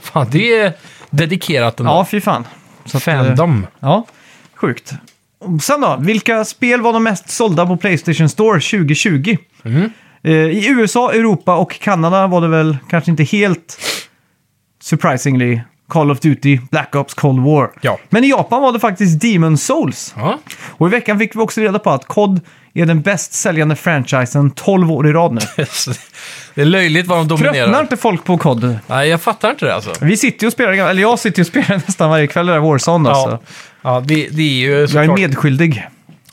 [SPEAKER 2] Fan, det är dedikerat ändå.
[SPEAKER 1] Ja, eh, fy fan.
[SPEAKER 2] Ja, Fandom.
[SPEAKER 1] Ja, sjukt. Och Sen då, vilka spel var de mest sålda på Playstation Store 2020? Eh, I USA, Europa och Kanada var det väl kanske inte helt surprisingly Call of Duty, Black Ops, Cold War.
[SPEAKER 2] Ja.
[SPEAKER 1] Men i Japan var det faktiskt Demon Souls.
[SPEAKER 2] Ja.
[SPEAKER 1] Och i veckan fick vi också reda på att COD är den bäst säljande franchisen 12 år i rad
[SPEAKER 2] [LAUGHS]
[SPEAKER 1] nu.
[SPEAKER 2] Alltså, det är löjligt vad de
[SPEAKER 1] Tröttnar
[SPEAKER 2] dominerar.
[SPEAKER 1] inte folk på COD?
[SPEAKER 2] Nej, jag fattar inte det alltså.
[SPEAKER 1] Vi sitter ju och spelar, eller jag sitter ju och spelar [LAUGHS] nästan varje kväll i det där Warzone.
[SPEAKER 2] Ja,
[SPEAKER 1] Alltså.
[SPEAKER 2] ja det, det är ju
[SPEAKER 1] Jag är
[SPEAKER 2] såklart
[SPEAKER 1] medskyldig.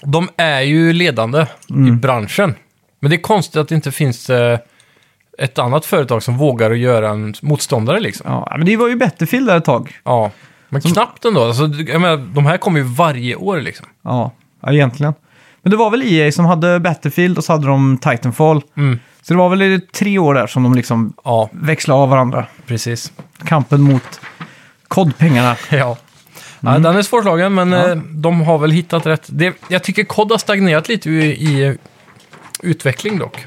[SPEAKER 2] De är ju ledande i branschen. Men det är konstigt att det inte finns eh, ett annat företag som vågar att göra en motståndare liksom.
[SPEAKER 1] Ja, men det var ju Battlefield där ett tag.
[SPEAKER 2] Ja. Men knappt ändå. Alltså, jag menar, de här kommer ju varje år liksom.
[SPEAKER 1] Ja, ja, egentligen. Men det var väl EA som hade Battlefield och så hade de Titanfall.
[SPEAKER 2] Mm.
[SPEAKER 1] Så det var väl i tre år där som de liksom
[SPEAKER 2] Ja,
[SPEAKER 1] växlade av varandra.
[SPEAKER 2] precis.
[SPEAKER 1] Kampen mot kodpengarna.
[SPEAKER 2] [LAUGHS] Ja. Ja,
[SPEAKER 1] Mm.
[SPEAKER 2] den är svårslagen, men eh, de har väl hittat rätt. Det, jag tycker COD har stagnerat lite i, i utveckling dock.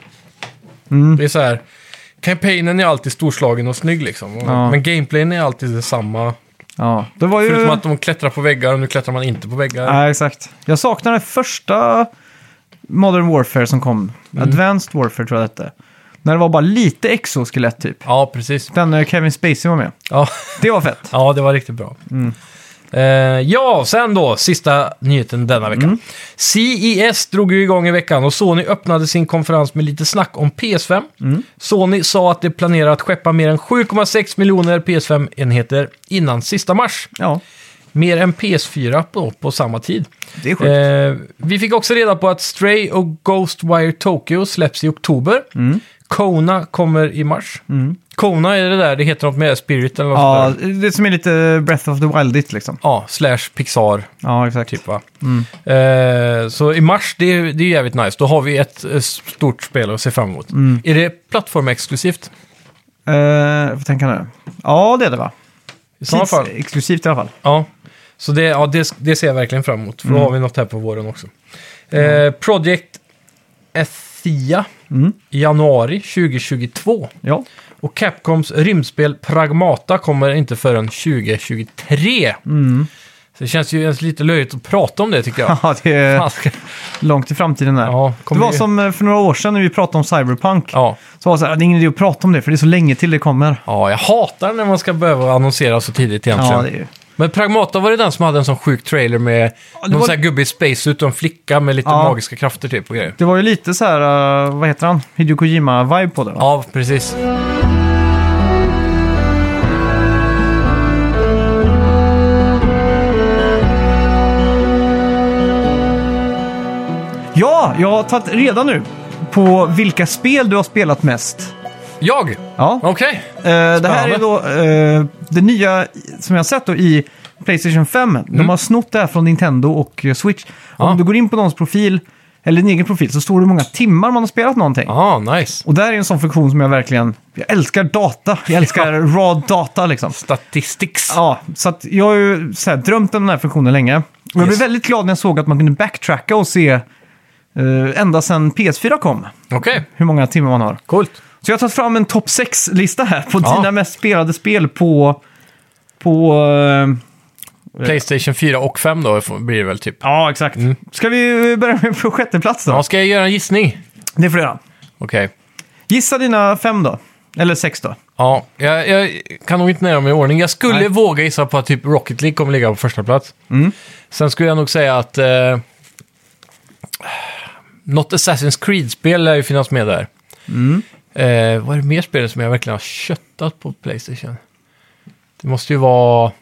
[SPEAKER 1] Mm.
[SPEAKER 2] Det är så här, kampanjen är alltid storslagen och snygg liksom. Och,
[SPEAKER 1] Ja.
[SPEAKER 2] Men gameplayen är alltid detsamma.
[SPEAKER 1] Ja, det var ju...
[SPEAKER 2] Förutom att de klättrar på väggar och nu klättrar man inte på väggar.
[SPEAKER 1] Ja, exakt. Jag saknar
[SPEAKER 2] Mm.
[SPEAKER 1] den första Modern Warfare som kom. Advanced Warfare tror jag det hette. När det var bara lite exoskelett typ.
[SPEAKER 2] Ja, precis.
[SPEAKER 1] Den eh, Kevin Spacey var med.
[SPEAKER 2] Ja,
[SPEAKER 1] Det var fett.
[SPEAKER 2] ja det var riktigt bra.
[SPEAKER 1] Mm.
[SPEAKER 2] Eh, ja, sen då, sista nyheten denna vecka.
[SPEAKER 1] Mm.
[SPEAKER 2] CES drog ju igång i veckan och Sony öppnade sin konferens med lite snack om PS5.
[SPEAKER 1] Mm.
[SPEAKER 2] Sony sa att de planerar att skeppa mer än 7,6 miljoner PS5-enheter innan sista mars.
[SPEAKER 1] Ja,
[SPEAKER 2] Mer än PS4 på, på samma tid.
[SPEAKER 1] det är sjukt.
[SPEAKER 2] Eh, vi fick också reda på att Stray och Ghostwire Tokyo släpps i oktober.
[SPEAKER 1] Mm.
[SPEAKER 2] Kona kommer i mars. Kona är det där, det heter något med Spirit eller något
[SPEAKER 1] ja,
[SPEAKER 2] sånt där.
[SPEAKER 1] det är som är lite Breath of the Wild-igt liksom.
[SPEAKER 2] Ja, slash Pixar
[SPEAKER 1] Ja, exakt.
[SPEAKER 2] typ va. Eh, så i mars, det, är- det är jävligt nice. Då har vi ett eh, stort spel att se fram emot.
[SPEAKER 1] Mm.
[SPEAKER 2] Är det plattformexklusivt?
[SPEAKER 1] Eh, jag får tänka nu. Ja, det är det va?
[SPEAKER 2] I sådana fall.
[SPEAKER 1] Exklusivt i alla fall.
[SPEAKER 2] Ja, så det, ja, det, det ser jag verkligen fram emot.
[SPEAKER 1] Mm.
[SPEAKER 2] För då har vi något här på våren också. Eh, Project Ethia
[SPEAKER 1] Mm.
[SPEAKER 2] i januari 2022.
[SPEAKER 1] Ja,
[SPEAKER 2] Och Capcoms rymdspel Pragmata kommer inte förrän 2023.
[SPEAKER 1] Mm.
[SPEAKER 2] Så det känns ju ens lite löjligt att prata om det
[SPEAKER 1] [LAUGHS]
[SPEAKER 2] tycker jag.
[SPEAKER 1] [LAUGHS] ja det är
[SPEAKER 2] Fan, ska-
[SPEAKER 1] långt i framtiden där.
[SPEAKER 2] Ja,
[SPEAKER 1] det
[SPEAKER 2] kommer
[SPEAKER 1] var
[SPEAKER 2] ju-
[SPEAKER 1] som eh, för några år sedan när vi pratade om Cyberpunk.
[SPEAKER 2] ja.
[SPEAKER 1] Så var det så här, det är ingen idé att prata om det för det är så länge till det kommer.
[SPEAKER 2] ja, jag hatar när man ska behöva annonsera så tidigt egentligen.
[SPEAKER 1] Ja, det är ju...
[SPEAKER 2] Men Pragmata var det den som hade en sån sjuk trailer med
[SPEAKER 1] det
[SPEAKER 2] någon
[SPEAKER 1] var-
[SPEAKER 2] sån här gubbe i space utan flicka med lite
[SPEAKER 1] Ja.
[SPEAKER 2] magiska krafter typ och grejer.
[SPEAKER 1] Det var ju lite så här, eh, vad heter han? Hideo Kojima-vibe på det va?
[SPEAKER 2] Ja, precis.
[SPEAKER 1] Ja, jag har tagit reda nu på vilka spel du har spelat mest.
[SPEAKER 2] Jag?
[SPEAKER 1] Ja,
[SPEAKER 2] Okej.
[SPEAKER 1] eh, det här är då eh, det nya som jag har sett då i Playstation 5. De har snott det här från Nintendo och eh, Switch.
[SPEAKER 2] Mm. Ja.
[SPEAKER 1] Om du går in på någons profil, eller din egen profil, så står det hur många timmar man har spelat någonting.
[SPEAKER 2] Ah, nice.
[SPEAKER 1] Och där är en sån funktion som jag verkligen... Jag älskar data. Jag älskar raw data liksom.
[SPEAKER 2] Statistics.
[SPEAKER 1] Ja, så att jag har ju så här, drömt om den här funktionen länge. Och jag blev
[SPEAKER 2] Yes.
[SPEAKER 1] väldigt glad när jag såg att man kunde backtracka och se eh, ända sedan PS4 kom
[SPEAKER 2] Okej,
[SPEAKER 1] hur många timmar man har.
[SPEAKER 2] coolt.
[SPEAKER 1] Så jag har tagit fram en topp 6-lista här på
[SPEAKER 2] Ja.
[SPEAKER 1] dina mest spelade spel på... på eh,
[SPEAKER 2] Playstation 4 och 5 då får- blir det väl typ.
[SPEAKER 1] ja, exakt. Ska vi börja med på sjätte plats då?
[SPEAKER 2] Ja, ska jag göra en gissning?
[SPEAKER 1] Det får du göra.
[SPEAKER 2] Okej.
[SPEAKER 1] Gissa dina fem då. Eller sex då.
[SPEAKER 2] Ja, jag, jag kan nog inte nämna mig i ordning. Jag skulle
[SPEAKER 1] Nej.
[SPEAKER 2] våga gissa på att typ Rocket League kommer ligga på första plats. Sen skulle jag nog säga att eh, något Assassin's Creed-spel lär ju finnas med där. Eh, vad är det mer spel som jag verkligen har köttat på Playstation? Det måste ju vara...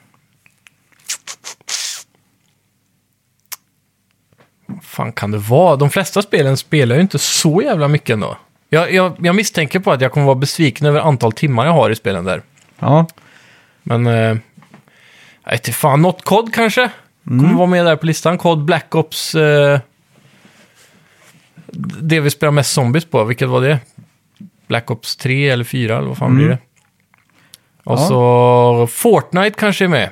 [SPEAKER 2] Vad fan kan det vara? De flesta spelen spelar ju inte så jävla mycket ändå. Jag, jag, jag misstänker på att jag kommer vara besviken över antal timmar jag har i spelen där.
[SPEAKER 1] Ja.
[SPEAKER 2] Men... Eh, jag vet inte fan, något kod kanske? Kommer vara med där på listan. Kod Black Ops... Eh, det vi spelar mest zombies på, vilket var det? Black Ops 3 eller 4 eller vad fan blir det? Och
[SPEAKER 1] Ja.
[SPEAKER 2] så Fortnite kanske är med.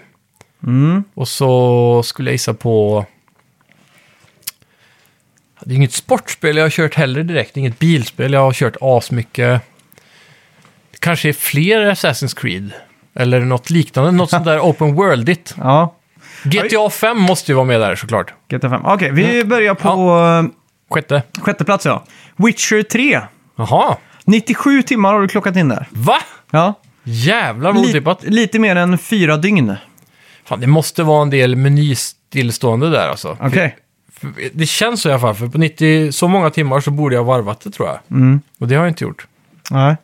[SPEAKER 2] Och så skulle jag gissa på... Det är inget sportspel jag har kört heller direkt. Inget bilspel jag har kört asmycket. Det kanske är fler Assassin's Creed. Eller något liknande. Något sånt där open worldigt.
[SPEAKER 1] Ja.
[SPEAKER 2] GTA 5 måste ju vara med där såklart.
[SPEAKER 1] GTA 5. Okej, vi börjar på
[SPEAKER 2] Sjätte.
[SPEAKER 1] eh, sjätte plats ja. Witcher 3.
[SPEAKER 2] Jaha.
[SPEAKER 1] 97 timmar har du klockat in där.
[SPEAKER 2] Va?
[SPEAKER 1] Ja.
[SPEAKER 2] Jävlar vad
[SPEAKER 1] Lite,
[SPEAKER 2] otippat.
[SPEAKER 1] lite mer än fyra dygn.
[SPEAKER 2] Fan, det måste vara en del menystillstående där alltså.
[SPEAKER 1] Okej.
[SPEAKER 2] För- Det känns så i alla fall. För på 90 så många timmar så borde jag ha varvat det tror jag. Och det har jag inte gjort.
[SPEAKER 1] Nej.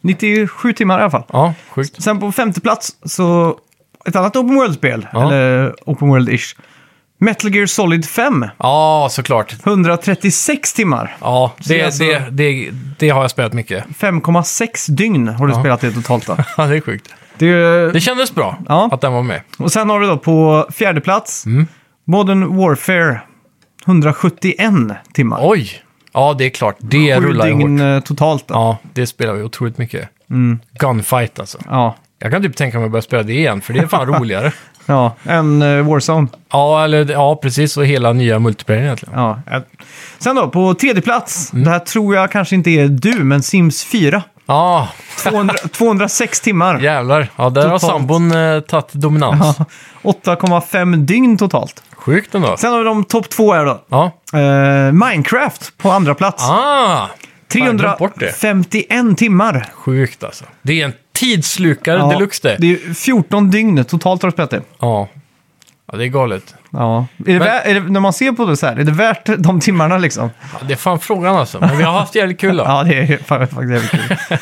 [SPEAKER 1] 97 timmar i alla fall.
[SPEAKER 2] Ja, sjukt.
[SPEAKER 1] Sen på femte plats så ett annat Open World-spel.
[SPEAKER 2] Ja.
[SPEAKER 1] Eller Open World-ish. Metal Gear Solid 5.
[SPEAKER 2] Ja, såklart.
[SPEAKER 1] 136 timmar.
[SPEAKER 2] Ja,
[SPEAKER 1] det
[SPEAKER 2] det,
[SPEAKER 1] är alltså-
[SPEAKER 2] det, det, det har jag spelat mycket.
[SPEAKER 1] 5,6 dygn har du spelat det totalt
[SPEAKER 2] [LAUGHS]
[SPEAKER 1] då.
[SPEAKER 2] Ja, det är sjukt.
[SPEAKER 1] Det är, ju-
[SPEAKER 2] Det kändes bra
[SPEAKER 1] Ja.
[SPEAKER 2] att den var med.
[SPEAKER 1] och sen har du då på fjärde plats
[SPEAKER 2] Mm.
[SPEAKER 1] Modern Warfare. 171 timmar.
[SPEAKER 2] Oj! Ja, det är klart. Det
[SPEAKER 1] Sju
[SPEAKER 2] rullar ju
[SPEAKER 1] dygn
[SPEAKER 2] hårt.
[SPEAKER 1] eh, totalt då.
[SPEAKER 2] Ja, det spelar vi otroligt mycket.
[SPEAKER 1] Mm.
[SPEAKER 2] Gunfight alltså.
[SPEAKER 1] Ja.
[SPEAKER 2] Jag kan typ tänka mig att börja spela det igen, för det är fan [LAUGHS] roligare.
[SPEAKER 1] Ja, en eh, Warzone.
[SPEAKER 2] Ja, eller, ja, precis. Och hela nya multiplayer egentligen.
[SPEAKER 1] Ja. Sen då, på tredje plats.
[SPEAKER 2] Mm.
[SPEAKER 1] Det här tror jag kanske inte är du, men Sims 4.
[SPEAKER 2] Ja,
[SPEAKER 1] 200, [LAUGHS] 206 timmar.
[SPEAKER 2] jävlar. Ja, där har
[SPEAKER 1] Totalt.
[SPEAKER 2] sambon eh, tagit dominans.
[SPEAKER 1] [LAUGHS] 8,5 dygn totalt.
[SPEAKER 2] Sjukt ändå.
[SPEAKER 1] Sen har vi de topp två här då.
[SPEAKER 2] Ja.
[SPEAKER 1] Eh, Minecraft på andra plats.
[SPEAKER 2] Ah! glömt bort det.
[SPEAKER 1] 351 timmar.
[SPEAKER 2] Sjukt alltså. Det är en tidslukare
[SPEAKER 1] Ja,
[SPEAKER 2] deluxe det.
[SPEAKER 1] Det är ju 14 dygn totalt har du spelat det.
[SPEAKER 2] Ja. ja, det är galet.
[SPEAKER 1] Ja. Är det
[SPEAKER 2] Men-
[SPEAKER 1] vä- är det, när man ser på det så här, är det värt de timmarna liksom?
[SPEAKER 2] Ja, det är fan frågan alltså. Men vi har haft jävligt kul då.
[SPEAKER 1] Ja, det är ju fan- faktiskt jävligt kul.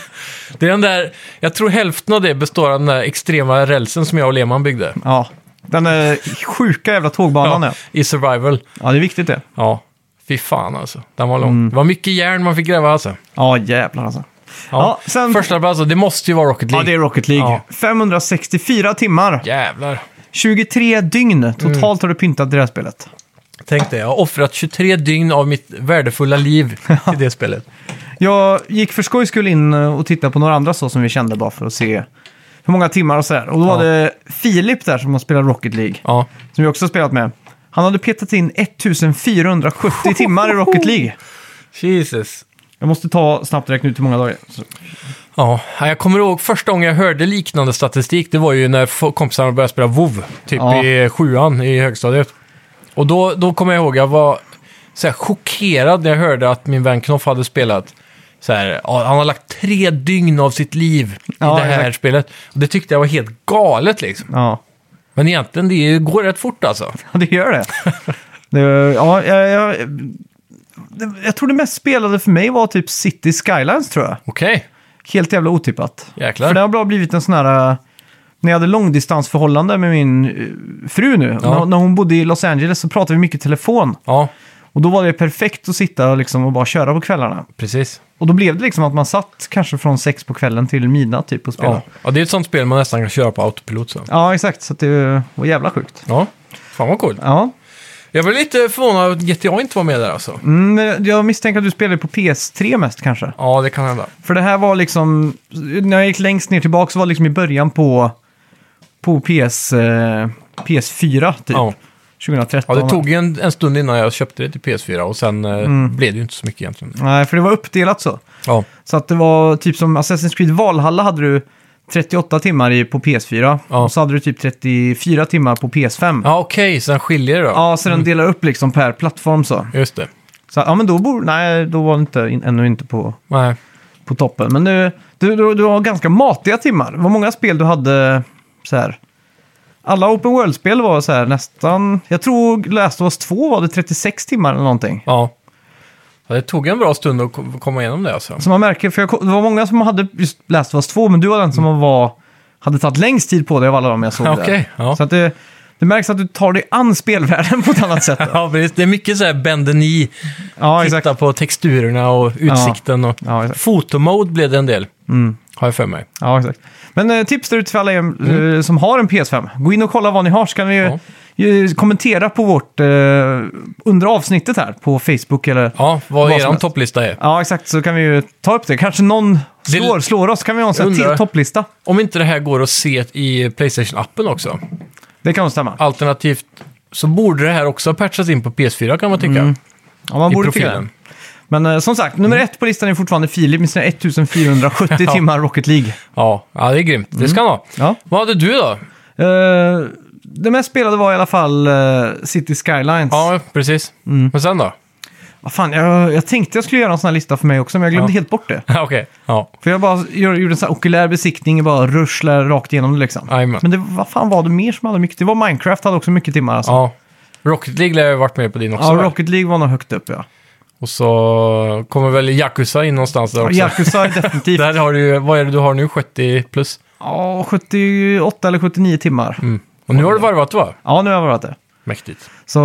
[SPEAKER 2] Det är den där, jag tror hälften av det består av den där extrema rälsen som jag och Lehmann byggde.
[SPEAKER 1] Ja. Den eh, sjuka jävla tågbanan, ja.
[SPEAKER 2] I survival.
[SPEAKER 1] Ja, det är viktigt det.
[SPEAKER 2] Ja, fy fan alltså. Den var lång. Det var mycket järn man fick gräva alltså.
[SPEAKER 1] Ja, jävlar alltså. Ja, sen-
[SPEAKER 2] Första plats, alltså, det måste ju vara Rocket
[SPEAKER 1] Ja,
[SPEAKER 2] League.
[SPEAKER 1] det är Rocket League.
[SPEAKER 2] Ja.
[SPEAKER 1] 564 timmar.
[SPEAKER 2] Jävlar.
[SPEAKER 1] 23 dygn totalt har du pyntat det här spelet.
[SPEAKER 2] Tänk dig, jag har offrat 23 dygn av mitt värdefulla [LAUGHS] liv till det spelet.
[SPEAKER 1] Jag gick för skojs skull in eh, och tittade på några andra så som vi kände bara för att se hur många timmar och sådär. Och då var
[SPEAKER 2] Ja.
[SPEAKER 1] det Filip där som har spelat Rocket League,
[SPEAKER 2] Ja.
[SPEAKER 1] som vi också har spelat med. Han hade petat in 1470 timmar i Rocket League.
[SPEAKER 2] Jesus.
[SPEAKER 1] Jag måste ta snabbt räkna ut hur många dagar. Så-
[SPEAKER 2] Ja, jag kommer ihåg första gången jag hörde liknande statistik, det var ju när fo- kompisarna började spela WoW, typ
[SPEAKER 1] Ja.
[SPEAKER 2] i sjuan i högstadiet. Och då, då kommer jag ihåg, jag var så här chockerad när jag hörde att min vän Knoff hade spelat. Så här, ja, han har lagt tre dygn av sitt liv i
[SPEAKER 1] Ja,
[SPEAKER 2] det här
[SPEAKER 1] exakt.
[SPEAKER 2] spelet. Och det tyckte jag var helt galet liksom.
[SPEAKER 1] Ja,
[SPEAKER 2] Men egentligen, det går rätt fort alltså.
[SPEAKER 1] Ja, det gör det. det ja, jag, jag, jag tror det mest spelade för mig var typ City Skylines tror jag.
[SPEAKER 2] Okej,
[SPEAKER 1] Helt jävla otippat.
[SPEAKER 2] Jäklar.
[SPEAKER 1] För det har bara blivit en sån här... eh, När jag hade långdistansförhållande med min eh, fru nu,
[SPEAKER 2] Ja.
[SPEAKER 1] när, när hon bodde i Los Angeles så pratade vi mycket i telefon.
[SPEAKER 2] ja,
[SPEAKER 1] Och då var det perfekt att sitta och liksom och bara köra på kvällarna.
[SPEAKER 2] precis.
[SPEAKER 1] Och då blev det liksom att man satt kanske från sex på kvällen till midnatt typ och spelade.
[SPEAKER 2] Ja.
[SPEAKER 1] Ja,
[SPEAKER 2] ja, det är ett sånt spel man nästan kan köra på autopilot sen.
[SPEAKER 1] exakt. Så att det var jävla sjukt.
[SPEAKER 2] Ja, fan vad coolt.
[SPEAKER 1] Ja,
[SPEAKER 2] Jag blev lite förvånad att GTA inte var med där alltså.
[SPEAKER 1] mm, men jag misstänker att du spelade på PS3 mest kanske.
[SPEAKER 2] Ja, det kan hända.
[SPEAKER 1] För det här var liksom, när jag gick längst ner tillbaka så var det liksom i början på, på PS, eh, PS4 typ.
[SPEAKER 2] Ja.
[SPEAKER 1] 2013.
[SPEAKER 2] Ja, det tog ju en, en stund innan jag köpte det till PS4 och sen eh,
[SPEAKER 1] Mm.
[SPEAKER 2] blev det ju inte så mycket egentligen.
[SPEAKER 1] Nej, för det var uppdelat så.
[SPEAKER 2] Ja,
[SPEAKER 1] Så att det var typ som Assassin's Creed Valhalla hade du 38 timmar i, på PS4.
[SPEAKER 2] Ja.
[SPEAKER 1] Och så hade du typ 34 timmar på PS5.
[SPEAKER 2] ja Mm. okej, så den skiljer det då.
[SPEAKER 1] Ja, så den delar upp liksom per plattform så.
[SPEAKER 2] Just det.
[SPEAKER 1] Så ja, men då bor, nej, då var det inte, in, ännu inte på,
[SPEAKER 2] Nej.
[SPEAKER 1] på toppen. Men du, du, du, du har ganska matiga timmar. Vad många spel du hade så här. Alla Open World-spel var så här nästan... Jag tror Last of Us 2 var det 36 timmar eller någonting.
[SPEAKER 2] Ja. ja. Det tog en bra stund att ko- komma igenom det alltså.
[SPEAKER 1] Så man märker, för jag, ko- det var många som hade just Last of Us 2, men du var den som var, hade tagit längst tid på det av alla de jag såg där.
[SPEAKER 2] Okej, Mm. ja.
[SPEAKER 1] Så att det, det märks att du tar dig an spelvärlden på ett annat
[SPEAKER 2] [LAUGHS]
[SPEAKER 1] sätt.
[SPEAKER 2] Ja, precis. Det är mycket så här bänder ni,
[SPEAKER 1] Ja, exakt.
[SPEAKER 2] titta på texturerna och utsikten. Och...
[SPEAKER 1] Ja, exakt. Mm.
[SPEAKER 2] Fotomode blev det en del, har jag för mig.
[SPEAKER 1] Ja, exakt. Men eh, tips där ute för alla er eh, som har en PS5. Gå in och kolla vad ni har, så kan ni ju,
[SPEAKER 2] Mm. Ja.
[SPEAKER 1] ju kommentera på vårt eh, under avsnittet här på Facebook eller...
[SPEAKER 2] Ja,
[SPEAKER 1] Vad
[SPEAKER 2] vad,
[SPEAKER 1] som
[SPEAKER 2] eran
[SPEAKER 1] helst.
[SPEAKER 2] topplista är.
[SPEAKER 1] Ja, exakt. Så kan vi ju ta upp det. Kanske någon
[SPEAKER 2] Det-
[SPEAKER 1] slår, slår oss. Kan vi ha en sån här
[SPEAKER 2] Undrar.
[SPEAKER 1] till topplista?
[SPEAKER 2] Om inte det här går att se i Playstation-appen också.
[SPEAKER 1] Det kan nog stämma.
[SPEAKER 2] Alternativt så borde det här också ha patchats in på PS4 kan man tycka.
[SPEAKER 1] Ja, man
[SPEAKER 2] I
[SPEAKER 1] borde tycka det.
[SPEAKER 2] profilen.
[SPEAKER 1] Men eh, som sagt, nummer ett på listan är fortfarande Filip
[SPEAKER 2] [LAUGHS]
[SPEAKER 1] med sina 1470 timmar Rocket League.
[SPEAKER 2] Ja, ja, det är grymt. Det ska han ha.
[SPEAKER 1] Ja.
[SPEAKER 2] Vad hade du då?
[SPEAKER 1] Eh, det mest spelade var i alla fall eh, City Skylines.
[SPEAKER 2] Ja, precis. Men sen då?
[SPEAKER 1] Vad fan, jag, jag tänkte jag skulle göra en sån här lista för mig också, men jag glömde
[SPEAKER 2] Ja.
[SPEAKER 1] helt bort det.
[SPEAKER 2] [LAUGHS] Okej. Ja.
[SPEAKER 1] För jag bara gör- gjorde en sån här okulär besiktning och bara ruschlar rakt igenom det liksom.
[SPEAKER 2] Jajamän.
[SPEAKER 1] Men det, vad fan var det mer som hade mycket? Det var Minecraft hade också mycket timmar alltså.
[SPEAKER 2] ja. Rocket League lär jag ha varit med på din också.
[SPEAKER 1] Ja,
[SPEAKER 2] väl?
[SPEAKER 1] Rocket League var nog högt upp ja.
[SPEAKER 2] Och så kommer väl Yakuza in någonstans där också.
[SPEAKER 1] Yakuza är definitivt.
[SPEAKER 2] Där har du ju- vad är [LAUGHS] det du har nu? 70 plus?
[SPEAKER 1] Ja, 78 eller 79 timmar.
[SPEAKER 2] Mm. Och nu har du varvat va?
[SPEAKER 1] Ja, nu har jag varit det.
[SPEAKER 2] Mäktigt.
[SPEAKER 1] Så,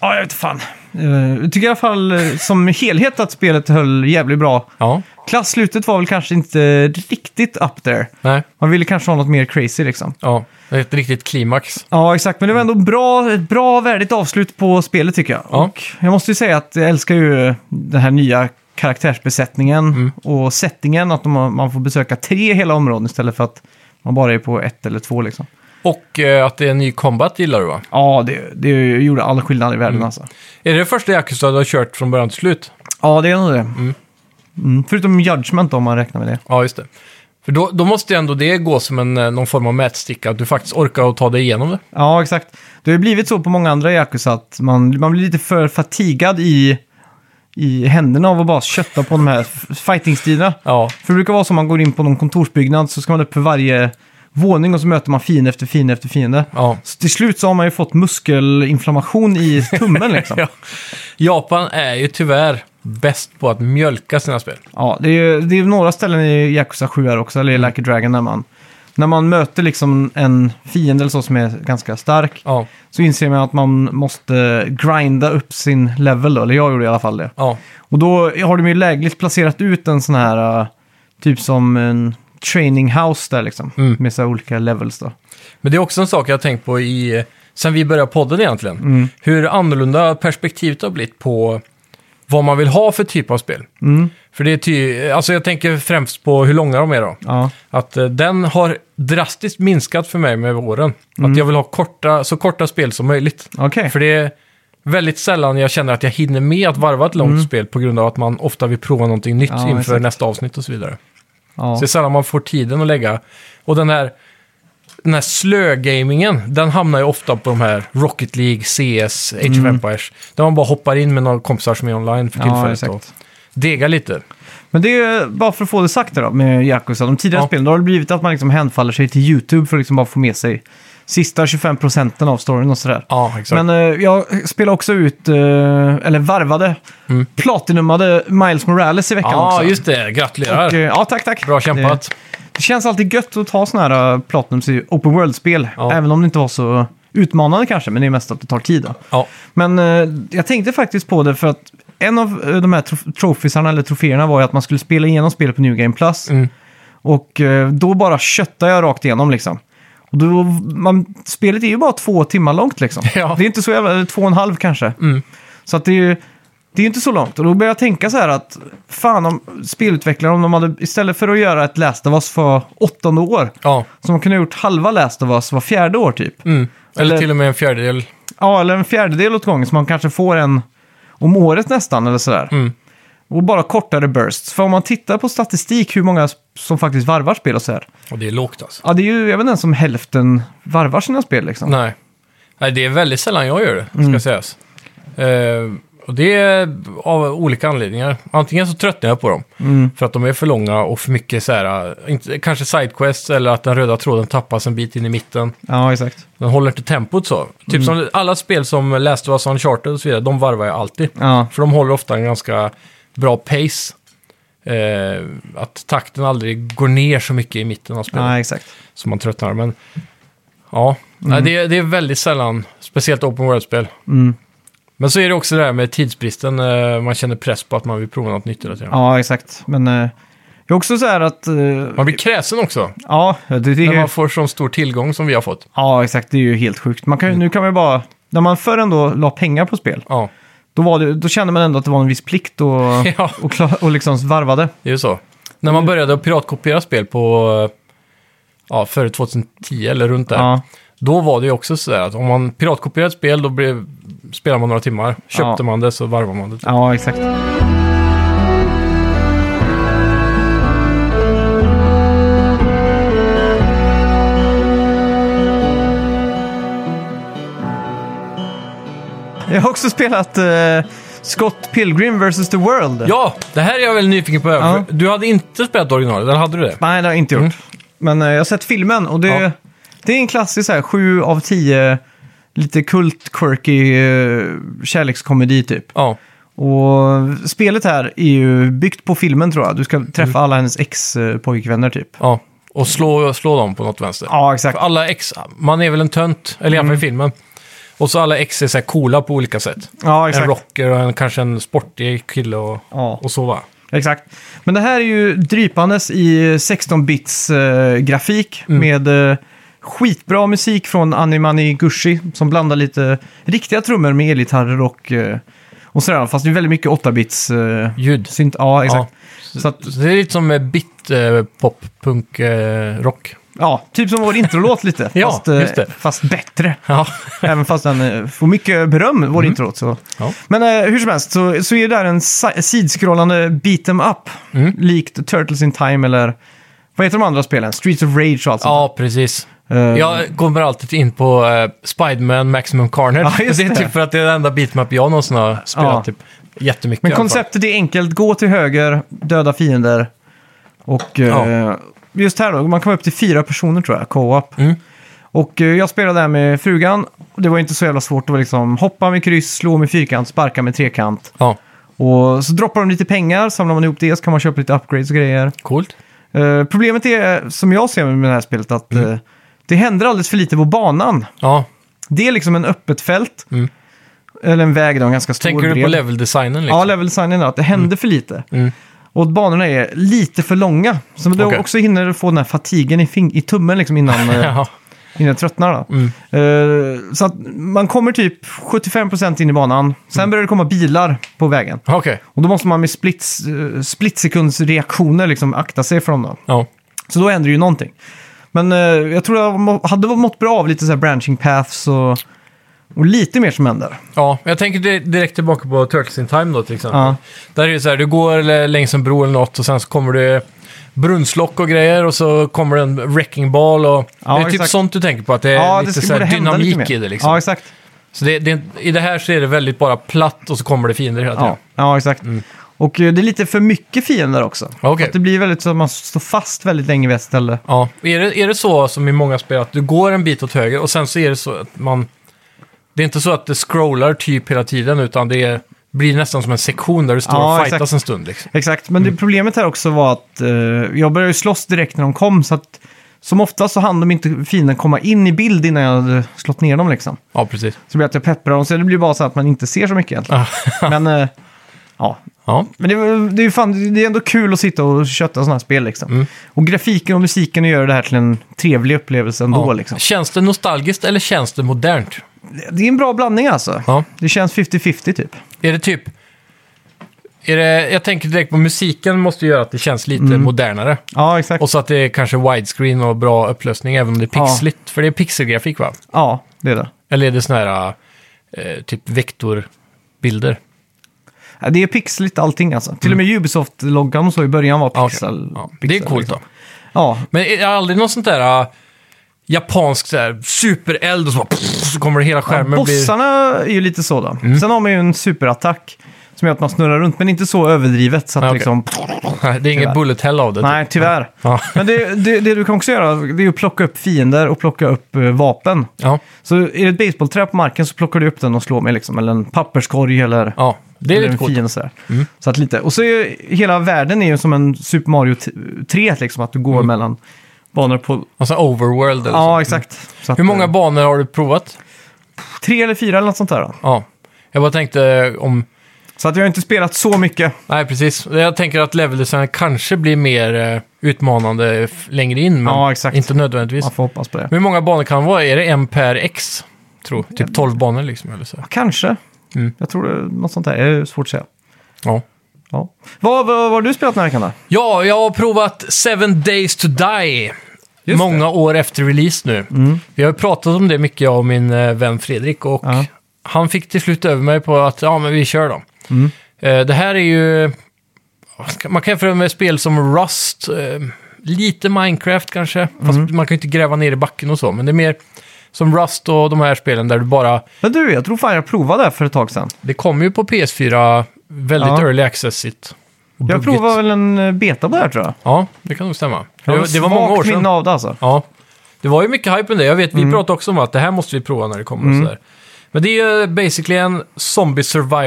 [SPEAKER 1] ja, jag vet fan. Eh, Jag tycker i alla fall eh, som helhet att spelet höll jävligt bra.
[SPEAKER 2] Ja.
[SPEAKER 1] Klasslutet var väl kanske inte riktigt up there.
[SPEAKER 2] Nej.
[SPEAKER 1] Man ville kanske ha något mer crazy liksom.
[SPEAKER 2] Ja. Det är ett riktigt klimax.
[SPEAKER 1] Ja, exakt. Men det var ändå bra, ett bra värdigt avslut på spelet tycker jag.
[SPEAKER 2] Ja.
[SPEAKER 1] Och jag måste ju säga att jag älskar ju eh, den här nya karaktärsbesättningen och settingen. Att de har, man får besöka tre hela områden istället för att man bara är på ett eller två liksom.
[SPEAKER 2] Och eh, att det är en ny combat gillar du va?
[SPEAKER 1] Ja, det, det gjorde all skillnad i världen alltså.
[SPEAKER 2] Är det det första Yakuza du har kört från början till slut?
[SPEAKER 1] Ja, det är nog det. Mm. Förutom Judgment då, om man räknar med det.
[SPEAKER 2] Ja, just det. För då, då måste ju ändå det gå som en, eh, någon form av mätsticka, att du faktiskt orkar att ta dig igenom det.
[SPEAKER 1] Ja, exakt. Det har ju blivit så på många andra Yakuza att man, man blir lite för fatigad i, i händerna av att bara kötta på de här f- fightingstilarna.
[SPEAKER 2] Ja,
[SPEAKER 1] För det brukar vara så om man går in på någon kontorsbyggnad så ska man upp för varje våning och så möter man fiende efter fiende efter fiende.
[SPEAKER 2] ja.
[SPEAKER 1] Så till slut så har man ju fått muskelinflammation i tummen liksom.
[SPEAKER 2] [LAUGHS] ja. Japan är ju tyvärr bäst på att mjölka sina spel.
[SPEAKER 1] Ja, det är ju det är ju några ställen i Yakuza 7 här också, eller i Like a Dragon, när man, när man möter liksom en fiende eller så som är ganska stark.
[SPEAKER 2] Ja,
[SPEAKER 1] Så inser man att man måste grinda upp sin level då, eller jag gjorde i alla fall det.
[SPEAKER 2] ja,
[SPEAKER 1] Och då har de ju lägligt placerat ut en sån här, äh, typ som en training house där liksom.
[SPEAKER 2] Mm.
[SPEAKER 1] Med så här olika levels då.
[SPEAKER 2] Men det är också en sak jag har tänkt på i, eh, sen vi började podden egentligen. Hur annorlunda perspektivet har blivit på vad man vill ha för typ av spel.
[SPEAKER 1] Mm,
[SPEAKER 2] För det är ty, alltså jag tänker främst på hur långa de är då.
[SPEAKER 1] Ja,
[SPEAKER 2] Att eh, den har drastiskt minskat för mig med åren. Att jag vill ha korta, så korta spel som möjligt.
[SPEAKER 1] okej.
[SPEAKER 2] [LAUGHS] För det är väldigt sällan jag känner att jag hinner med att varva ett långt spel på grund av att man ofta vill prova någonting nytt
[SPEAKER 1] Mm. Ja,
[SPEAKER 2] inför
[SPEAKER 1] exakt.
[SPEAKER 2] nästa avsnitt och så vidare.
[SPEAKER 1] Ja.
[SPEAKER 2] Så det är sällan man får tiden att lägga. Och den här, den här slögamingen, den hamnar ju ofta på de här Rocket League, CS, Age of Empires. Där man bara hoppar in med några kompisar som är online för
[SPEAKER 1] Mm. Ja,
[SPEAKER 2] tillfället
[SPEAKER 1] exakt.
[SPEAKER 2] och degar lite.
[SPEAKER 1] Men det är ju bara för att få det sagt då med Yakuza. De tidigare
[SPEAKER 2] Ja.
[SPEAKER 1] spelen, då har det blivit att man liksom hänfaller sig till YouTube för att liksom bara få med sig sista 25 procenten av storyn och sådär.
[SPEAKER 2] Ja, exakt.
[SPEAKER 1] Men eh, jag spelade också ut, eh, eller varvade, platinumade Miles Morales i veckan
[SPEAKER 2] Mm. ja,
[SPEAKER 1] också.
[SPEAKER 2] just det. Gratulerar.
[SPEAKER 1] Och, eh, ja, tack, tack.
[SPEAKER 2] Bra kämpat.
[SPEAKER 1] Det, det känns alltid gött att ta sådana här eh, platinums i open world-spel.
[SPEAKER 2] Ja.
[SPEAKER 1] Även om det inte var så utmanande kanske, men det är mest att det tar tid. Då.
[SPEAKER 2] Ja,
[SPEAKER 1] Men eh, jag tänkte faktiskt på det för att en av eh, de här trof- trofisarna eller troféerna var ju att man skulle spela igenom spelet på New Game Plus.
[SPEAKER 2] Mm.
[SPEAKER 1] Och eh, då bara köttade jag rakt igenom liksom. Och då, man, spelet är ju bara två timmar långt liksom.
[SPEAKER 2] [LAUGHS] Ja. Mm.
[SPEAKER 1] Det är inte så jävla, eller två och en halv kanske. Så att det är ju det är ju inte så långt. Och då började jag tänka så här att fan om spelutvecklare, om de hade, istället för att göra ett Last of Us var åttonde år,
[SPEAKER 2] ja.
[SPEAKER 1] som de kunde ha gjort halva Last of Us var fjärde år typ.
[SPEAKER 2] Mm. Eller,
[SPEAKER 1] Eller-
[SPEAKER 2] till och med en fjärdedel.
[SPEAKER 1] Ja, eller en fjärdedel åt gången, så man kanske får en om året nästan, eller sådär.
[SPEAKER 2] Mm.
[SPEAKER 1] Och bara kortare bursts. För om man tittar på statistik, hur många som faktiskt varvar spel och sådär.
[SPEAKER 2] Och det är lågt alltså.
[SPEAKER 1] Ja, det är ju även den som hälften varvar sina spel liksom.
[SPEAKER 2] Nej. Nej, det är väldigt sällan jag gör det, ska sägas. Eh, och det är av olika anledningar. Antingen så tröttnar jag på dem, för att de är för långa och för mycket så här, eh, inte, kanske sidequests eller att den röda tråden tappas en bit in i mitten.
[SPEAKER 1] Ja, exakt.
[SPEAKER 2] Den håller inte tempot så. Typ som alla spel som Last of Us Uncharted och så vidare, de varvar jag alltid.
[SPEAKER 1] Ja,
[SPEAKER 2] För de håller ofta en ganska bra pace. Eh, att takten aldrig går ner så mycket i mitten av spelet
[SPEAKER 1] ja exakt.
[SPEAKER 2] som man tröttnar. Men ja, nej, det, är- det är väldigt sällan, speciellt open world-spel.
[SPEAKER 1] Mm.
[SPEAKER 2] Men så är det också det här med tidsbristen, eh, man känner press på att man vill prova något nytt hela tiden.
[SPEAKER 1] Ja, exakt. Men eh, det är också så här att... eh,
[SPEAKER 2] Man blir kräsen också,
[SPEAKER 1] ja, det, det är
[SPEAKER 2] när
[SPEAKER 1] ju...
[SPEAKER 2] man får sån stor tillgång som vi har fått.
[SPEAKER 1] Ja, exakt. Det är ju helt sjukt. Man kan,
[SPEAKER 2] Mm.
[SPEAKER 1] ju Nu kan man ju bara... När man förr ändå la pengar på spel,
[SPEAKER 2] Ja,
[SPEAKER 1] då, var det, då kände man ändå att det var en viss plikt och,
[SPEAKER 2] [LAUGHS] Ja.
[SPEAKER 1] och, klar, och liksom varvade.
[SPEAKER 2] det är ju så. När
[SPEAKER 1] Mm.
[SPEAKER 2] man började att piratkopiera spel på, eh, ja, före 2010 eller runt där,
[SPEAKER 1] Ja.
[SPEAKER 2] då var det ju också så där att om man piratkopierade ett spel, då blev, spelade man några timmar. Köpte
[SPEAKER 1] Ja.
[SPEAKER 2] man det så varvade man det.
[SPEAKER 1] Ja, exakt. Jag har också spelat eh, Scott Pilgrim vs. The World.
[SPEAKER 2] Ja, det här är jag väldigt nyfiken på.
[SPEAKER 1] Ja.
[SPEAKER 2] för Du hade inte spelat originalet, eller hade du det?
[SPEAKER 1] Nej, det har jag inte gjort.
[SPEAKER 2] Mm.
[SPEAKER 1] Men eh, jag har sett filmen och det,
[SPEAKER 2] Ja.
[SPEAKER 1] det är en klassisk så här, 7 av 10 lite kult, quirky eh, kärlekskomedi typ.
[SPEAKER 2] Ja.
[SPEAKER 1] Och spelet här är ju byggt på filmen tror jag. Du ska träffa alla hennes ex-pojkvänner typ.
[SPEAKER 2] Ja, och slå, slå dem på något vänster.
[SPEAKER 1] Ja, Mm. exakt.
[SPEAKER 2] För alla ex, man är väl en tönt, eller i alla fall i filmen. Och så alla ex är så här coola på olika sätt.
[SPEAKER 1] Ja,
[SPEAKER 2] En
[SPEAKER 1] exakt.
[SPEAKER 2] rocker och en, kanske en sportig kille och,
[SPEAKER 1] Ja.
[SPEAKER 2] och så va?
[SPEAKER 1] exakt. Men det här är ju drypandes i 16-bits eh, grafik
[SPEAKER 2] Mm.
[SPEAKER 1] med eh, skitbra musik från Animani Gushi som blandar lite riktiga trummor med elgitarrer och, eh, och sådär. Fast det är väldigt mycket 8-bits eh,
[SPEAKER 2] Ljud.
[SPEAKER 1] synt. Ja, exakt.
[SPEAKER 2] Ja.
[SPEAKER 1] Så att,
[SPEAKER 2] Så det är lite som eh, bit eh, pop, punk, eh, rock.
[SPEAKER 1] ja, typ som vår introlåt lite.
[SPEAKER 2] [LAUGHS] Ja,
[SPEAKER 1] fast, eh,
[SPEAKER 2] just det.
[SPEAKER 1] fast bättre.
[SPEAKER 2] Ja.
[SPEAKER 1] Även fast den eh, får mycket beröm,
[SPEAKER 2] Mm.
[SPEAKER 1] vår introt. Så.
[SPEAKER 2] Ja.
[SPEAKER 1] Men eh, hur som helst så, så är det där en si- sidskrollande beat em up.
[SPEAKER 2] Mm.
[SPEAKER 1] Likt Turtles in Time eller vad heter de andra spelen? Streets of Rage och allt sånt.
[SPEAKER 2] ja, precis.
[SPEAKER 1] Eh,
[SPEAKER 2] Jag kommer alltid in på eh, Spiderman Maximum Carnage.
[SPEAKER 1] Ja, just
[SPEAKER 2] det är
[SPEAKER 1] det.
[SPEAKER 2] typ för att det är den enda beatmap jag någonsin har spelat.
[SPEAKER 1] Ja.
[SPEAKER 2] Typ. jättemycket
[SPEAKER 1] Men
[SPEAKER 2] i alla fall.
[SPEAKER 1] konceptet är enkelt. Gå till höger, döda fiender. Och eh, just här då, man kan vara upp till fyra personer tror jag, co-op.
[SPEAKER 2] Mm.
[SPEAKER 1] Och eh, jag spelade där med frugan. Det var inte så jävla svårt. Det var liksom hoppa med kryss, slå med fyrkant, sparka med trekant.
[SPEAKER 2] Ja,
[SPEAKER 1] Och så droppar de lite pengar, samlar man ihop det så kan man köpa lite upgrades och grejer.
[SPEAKER 2] coolt.
[SPEAKER 1] Eh, problemet är, som jag ser med det här spelet, att
[SPEAKER 2] Mm.
[SPEAKER 1] eh, det händer alldeles för lite på banan.
[SPEAKER 2] Ja.
[SPEAKER 1] Det är liksom en öppet fält.
[SPEAKER 2] Mm.
[SPEAKER 1] Eller en väg då, en ganska stor
[SPEAKER 2] Tänker du på
[SPEAKER 1] bred.
[SPEAKER 2] leveldesignen liksom?
[SPEAKER 1] Ja, level designen är att det händer för lite.
[SPEAKER 2] Mm.
[SPEAKER 1] Och banorna är lite för långa. Så du
[SPEAKER 2] Okej.
[SPEAKER 1] också hinner få den här fatigen i, fing- i tummen liksom
[SPEAKER 2] [LAUGHS]
[SPEAKER 1] innan, eh,
[SPEAKER 2] Ja,
[SPEAKER 1] innan jag tröttnar. Då.
[SPEAKER 2] Mm.
[SPEAKER 1] Eh, så att man kommer typ 75% in i banan. Sen
[SPEAKER 2] Mm.
[SPEAKER 1] börjar det komma bilar på vägen.
[SPEAKER 2] okej.
[SPEAKER 1] Och då måste man med splits, eh, splitsekundsreaktioner liksom akta sig från dem.
[SPEAKER 2] Ja.
[SPEAKER 1] Så då händer ju någonting. Men eh, jag tror jag må- hade mått bra av lite så här branching paths och, och lite mer som händer.
[SPEAKER 2] ja, jag tänker di- direkt tillbaka på Turtles in Time då till exempel.
[SPEAKER 1] Ja.
[SPEAKER 2] Där är det så här, du går l- längs en bro eller något och sen så kommer det brunnslock och grejer och så kommer det en wrecking ball och...
[SPEAKER 1] Ja,
[SPEAKER 2] det är typ
[SPEAKER 1] exakt.
[SPEAKER 2] sånt du tänker på, att det är
[SPEAKER 1] ja,
[SPEAKER 2] lite
[SPEAKER 1] det
[SPEAKER 2] så
[SPEAKER 1] skulle borde
[SPEAKER 2] här
[SPEAKER 1] hända
[SPEAKER 2] dynamik
[SPEAKER 1] lite mer.
[SPEAKER 2] i det liksom.
[SPEAKER 1] Ja, exakt.
[SPEAKER 2] Så det, det, I det här så är det väldigt bara platt och så kommer det fiender hela tiden.
[SPEAKER 1] Ja, ja exakt. Och eh, det är lite för mycket fiender också.
[SPEAKER 2] Ja. Mm. Okej.
[SPEAKER 1] Att det blir väldigt så att man står fast väldigt länge vid ett ställe.
[SPEAKER 2] Ja, är det, är det så som i många spel att du går en bit åt höger och sen så är det så att man... Det är inte så att det scrollar typ hela tiden utan det är, blir nästan som en sektion där du står
[SPEAKER 1] Ja,
[SPEAKER 2] och
[SPEAKER 1] exakt.
[SPEAKER 2] fightas en stund. Liksom.
[SPEAKER 1] Exakt, men det problemet här också var att eh, jag började ju slåss direkt när de kom. Så att som oftast så hann de inte fienden komma in i bild innan jag hade slått ner dem liksom.
[SPEAKER 2] Ja, precis.
[SPEAKER 1] Så det blir att jag pepprar dem, så det blir bara så att man inte ser så mycket
[SPEAKER 2] [LAUGHS]
[SPEAKER 1] egentligen.
[SPEAKER 2] Ja.
[SPEAKER 1] men eh, [LAUGHS] ja,
[SPEAKER 2] Ja,
[SPEAKER 1] men det, var- det, är ju fan, det är ändå kul att sitta och kötta sådana här spel liksom.
[SPEAKER 2] Mm.
[SPEAKER 1] Och grafiken och musiken gör det här till en trevlig upplevelse ändå
[SPEAKER 2] ja.
[SPEAKER 1] liksom.
[SPEAKER 2] Känns det nostalgiskt eller känns det modernt?
[SPEAKER 1] Det- Det är en bra blandning alltså.
[SPEAKER 2] Ja.
[SPEAKER 1] Det känns 50-50 typ.
[SPEAKER 2] Är det typ... Är det, jag tänker direkt på musiken måste ju göra att det känns lite
[SPEAKER 1] Mm.
[SPEAKER 2] modernare.
[SPEAKER 1] Ja, exakt.
[SPEAKER 2] Och så att det är kanske widescreen och bra upplösning även om det är
[SPEAKER 1] Ja.
[SPEAKER 2] pixligt. För det är pixelgrafik va?
[SPEAKER 1] Ja, det är det.
[SPEAKER 2] Eller är det sån här eh, typ vektorbilder?
[SPEAKER 1] Ja, Det är pixligt allting alltså. Till och med Ubisoft-loggan och så i början var
[SPEAKER 2] Mm. Ja, okej.
[SPEAKER 1] pixel.
[SPEAKER 2] Ja, det är
[SPEAKER 1] pixel,
[SPEAKER 2] coolt
[SPEAKER 1] liksom.
[SPEAKER 2] då.
[SPEAKER 1] Ja,
[SPEAKER 2] Men är det aldrig någon sånt där äh, japansk så här, supereld och så, bara, pff, så kommer det hela skärmen Mm. bli...
[SPEAKER 1] bossarna är ju lite så då. Sen har man ju en superattack som gör att man snurrar runt, men inte så överdrivet. Så att
[SPEAKER 2] Ja, okej.
[SPEAKER 1] liksom,
[SPEAKER 2] [LAUGHS] Nej, Det är
[SPEAKER 1] Tyvärr.
[SPEAKER 2] inget bullet hell av det. typ.
[SPEAKER 1] nej, tyvärr.
[SPEAKER 2] Ja.
[SPEAKER 1] Men det, det, det du kan också göra det är ju att plocka upp fiender och plocka upp eh, vapen.
[SPEAKER 2] Ja,
[SPEAKER 1] Så är det ett baseballträ på marken så plockar du upp den och slår med liksom, eller en papperskorg eller...
[SPEAKER 2] ja, det är
[SPEAKER 1] eller
[SPEAKER 2] lite
[SPEAKER 1] en
[SPEAKER 2] coolt. Mm.
[SPEAKER 1] fiende sådär. Så att lite. Och så är ju, hela världen är ju som en Super Mario t- 3, liksom, att du går mellan banor på...
[SPEAKER 2] Och så Alltså overworld eller
[SPEAKER 1] Ja,
[SPEAKER 2] Mm. så.
[SPEAKER 1] exakt. Så att,
[SPEAKER 2] Hur många
[SPEAKER 1] eh,
[SPEAKER 2] banor har du provat?
[SPEAKER 1] Tre eller fyra eller något sånt där. Då.
[SPEAKER 2] Ja. Jag bara tänkte eh, om...
[SPEAKER 1] Så att jag har inte spelat så mycket.
[SPEAKER 2] Nej, precis. Jag tänker att leveldesignen kanske blir mer eh, utmanande f- längre in, men
[SPEAKER 1] Ja, exakt.
[SPEAKER 2] inte nödvändigtvis.
[SPEAKER 1] Man får hoppas på det.
[SPEAKER 2] Hur många banor kan det vara? Är det en per X? Tror. Typ 12 banor liksom, eller så.
[SPEAKER 1] Kanske.
[SPEAKER 2] Mm.
[SPEAKER 1] Jag tror det är något sånt där. Det är svårt att säga.
[SPEAKER 2] Ja.
[SPEAKER 1] Ja. Vad, vad, vad har du spelat den här veckan då?
[SPEAKER 2] Ja, jag har provat Seven Days to Die.
[SPEAKER 1] Just Mm.
[SPEAKER 2] många år efter release nu. Vi har ju pratat om det mycket, jag och min eh, vän Fredrik. Och
[SPEAKER 1] Ja.
[SPEAKER 2] han fick till slut över mig på att ja, men vi kör då.
[SPEAKER 1] Mm.
[SPEAKER 2] Eh, det här är ju... Man kan jämföra med spel som Rust, eh, lite Minecraft kanske. Fast
[SPEAKER 1] Mm.
[SPEAKER 2] man kan ju inte gräva ner i backen och så. Men det är mer som Rust och de här spelen där du bara...
[SPEAKER 1] Men du, jag tror fan jag provade det här för ett tag sedan.
[SPEAKER 2] Det kom ju på PS4 väldigt
[SPEAKER 1] Ja.
[SPEAKER 2] early access-igt. och
[SPEAKER 1] Jag
[SPEAKER 2] buggigt.
[SPEAKER 1] provade väl en eh, beta på det här tror jag.
[SPEAKER 2] Ja, det kan nog stämma.
[SPEAKER 1] jag har
[SPEAKER 2] Det, det var många
[SPEAKER 1] svagt
[SPEAKER 2] år sedan.
[SPEAKER 1] minne av det alltså.
[SPEAKER 2] Ja, det var ju mycket hype om det. Jag vet, vi pratade också om att det här måste vi prova när det kommer och sådär. Men det är ju basically en zombie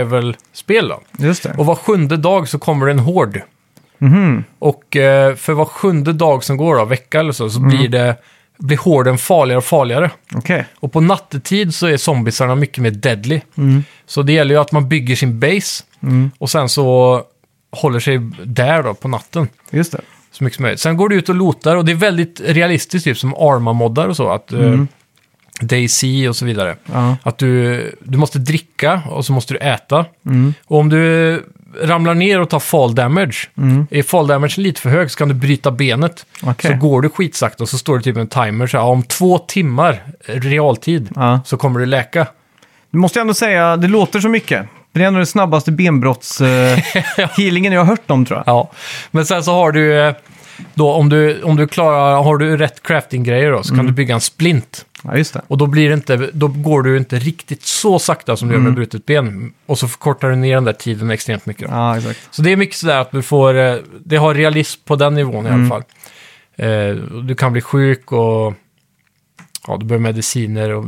[SPEAKER 2] survival-spel då.
[SPEAKER 1] Just det.
[SPEAKER 2] Och var sjunde dag så kommer det en hord. Och eh, för var sjunde dag som går, då, vecka eller så, så blir, det, blir horden farligare och farligare.
[SPEAKER 1] Okej.
[SPEAKER 2] Och på nattetid så är zombisarna mycket mer deadly. Så det gäller ju att man bygger sin base och sen så håller sig där då på natten
[SPEAKER 1] Just det.
[SPEAKER 2] så mycket som möjligt. Sen går du ut och lotar och det är väldigt realistiskt, typ som Arma-moddar och så. Att, eh,
[SPEAKER 1] Mm.
[SPEAKER 2] DayZ och så vidare.
[SPEAKER 1] Ja.
[SPEAKER 2] Att du, du måste dricka och så måste du äta.
[SPEAKER 1] Mm.
[SPEAKER 2] Och om du ramlar ner och tar fall damage, är fall damage lite för hög så kan du bryta benet.
[SPEAKER 1] Mm. Okej.
[SPEAKER 2] Så går du skitsakta och så står det typ en timer så här, "Ja, om två timmar eh, realtid
[SPEAKER 1] Ja.
[SPEAKER 2] så kommer du läka.
[SPEAKER 1] Du måste jag ändå säga, det låter så mycket. Det är ändå den snabbaste
[SPEAKER 2] [LAUGHS]
[SPEAKER 1] benbrotts-healingen jag har hört om tror jag.
[SPEAKER 2] Ja, men sen så har
[SPEAKER 1] Mm.
[SPEAKER 2] du eh, då om du, om du klarar, har du rätt crafting-grejer då så kan du bygga en splint.
[SPEAKER 1] Ja, just det.
[SPEAKER 2] Och då, blir det inte, då går du inte riktigt så sakta som du gör med brutet ben. Och så förkortar du ner den där tiden extremt mycket. Då.
[SPEAKER 1] Ja, exakt.
[SPEAKER 2] Så det är mycket sådär att du får, eh, det har realism på den nivån i alla fall. Eh, och Du kan bli sjuk och ja, du behöver mediciner. Och,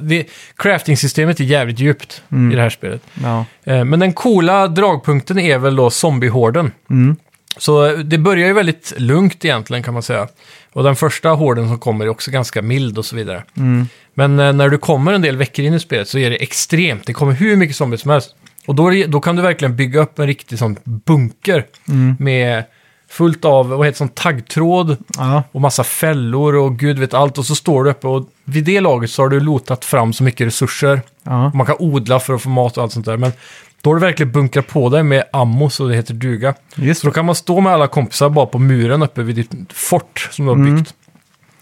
[SPEAKER 2] det, crafting-systemet är jävligt djupt i det här spelet.
[SPEAKER 1] Ja.
[SPEAKER 2] Eh, Men den coola dragpunkten är väl då zombiehorden.
[SPEAKER 1] Mm.
[SPEAKER 2] Så eh, det börjar ju väldigt lugnt egentligen kan man säga. Och den första horden som kommer är också ganska mild och så vidare.
[SPEAKER 1] Mm.
[SPEAKER 2] Men eh, när du kommer en del veckor in i spelet så är det extremt. Det kommer hur mycket zombies som helst. Och då, är det- då kan du verkligen bygga upp en riktig sån bunker
[SPEAKER 1] Mm.
[SPEAKER 2] med fullt av vad heter det, sån taggtråd
[SPEAKER 1] Ja.
[SPEAKER 2] och massa fällor och gud vet allt. Och så står du uppe och vid det laget så har du lotat fram så mycket resurser.
[SPEAKER 1] Ja.
[SPEAKER 2] Man kan odla för att få mat och allt sånt där. Men då har du verkligen bunkrat på dig med ammo så det heter duga.
[SPEAKER 1] Just
[SPEAKER 2] Så då
[SPEAKER 1] det.
[SPEAKER 2] kan man stå med alla kompisar bara på muren uppe vid ditt fort som du har
[SPEAKER 1] Mm.
[SPEAKER 2] byggt.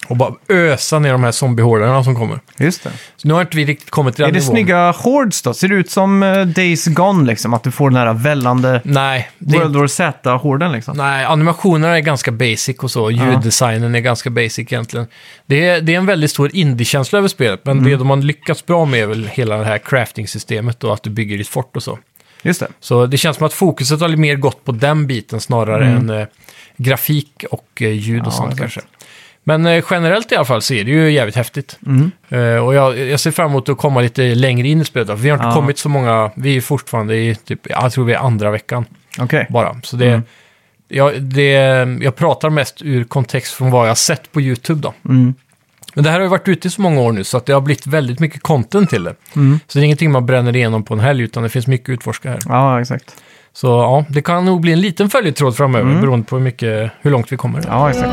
[SPEAKER 2] Och bara ösa ner de här zombiehårdarna som kommer.
[SPEAKER 1] Just det.
[SPEAKER 2] Så nu har inte vi riktigt kommit till den
[SPEAKER 1] Är det
[SPEAKER 2] nivån.
[SPEAKER 1] snygga hordes då? Ser det ut som eh, Days Gone liksom? Att du får den här vällande
[SPEAKER 2] Nej, det är
[SPEAKER 1] World War Z-horden liksom?
[SPEAKER 2] Nej, animationerna är ganska basic och så. Ljuddesignen är ganska basic egentligen. Det är, det är en väldigt stor indie-känsla över spelet, men
[SPEAKER 1] Mm.
[SPEAKER 2] det de har lyckats bra med är väl hela det här crafting-systemet och att du bygger ditt fort och så.
[SPEAKER 1] Just det.
[SPEAKER 2] Så det känns som att fokuset har lite mer gått på den biten snarare än eh, grafik och eh, ljud
[SPEAKER 1] Mm. Ja,
[SPEAKER 2] och sånt
[SPEAKER 1] exakt.
[SPEAKER 2] kanske. Men eh, generellt i alla fall så är det ju jävligt häftigt.
[SPEAKER 1] Mm.
[SPEAKER 2] Eh, och jag, jag ser fram emot att komma lite längre in i spelet. då, för Vi har inte
[SPEAKER 1] Ja.
[SPEAKER 2] kommit så många, vi är fortfarande i typ, jag tror vi är andra veckan
[SPEAKER 1] Okej.
[SPEAKER 2] bara. Så det,
[SPEAKER 1] Mm.
[SPEAKER 2] jag, det, jag pratar mest ur kontext från vad jag har sett på YouTube då.
[SPEAKER 1] Mm.
[SPEAKER 2] Men det här har ju varit ute i så många år nu så att det har blivit väldigt mycket content till det.
[SPEAKER 1] Mm.
[SPEAKER 2] Så det är ingenting man bränner igenom på en helg utan det finns mycket att utforska här.
[SPEAKER 1] Ja, exakt.
[SPEAKER 2] Så ja, det kan nog bli en liten följetråd framöver
[SPEAKER 1] Mm.
[SPEAKER 2] beroende på hur, mycket, hur långt vi kommer.
[SPEAKER 1] Ja, exakt.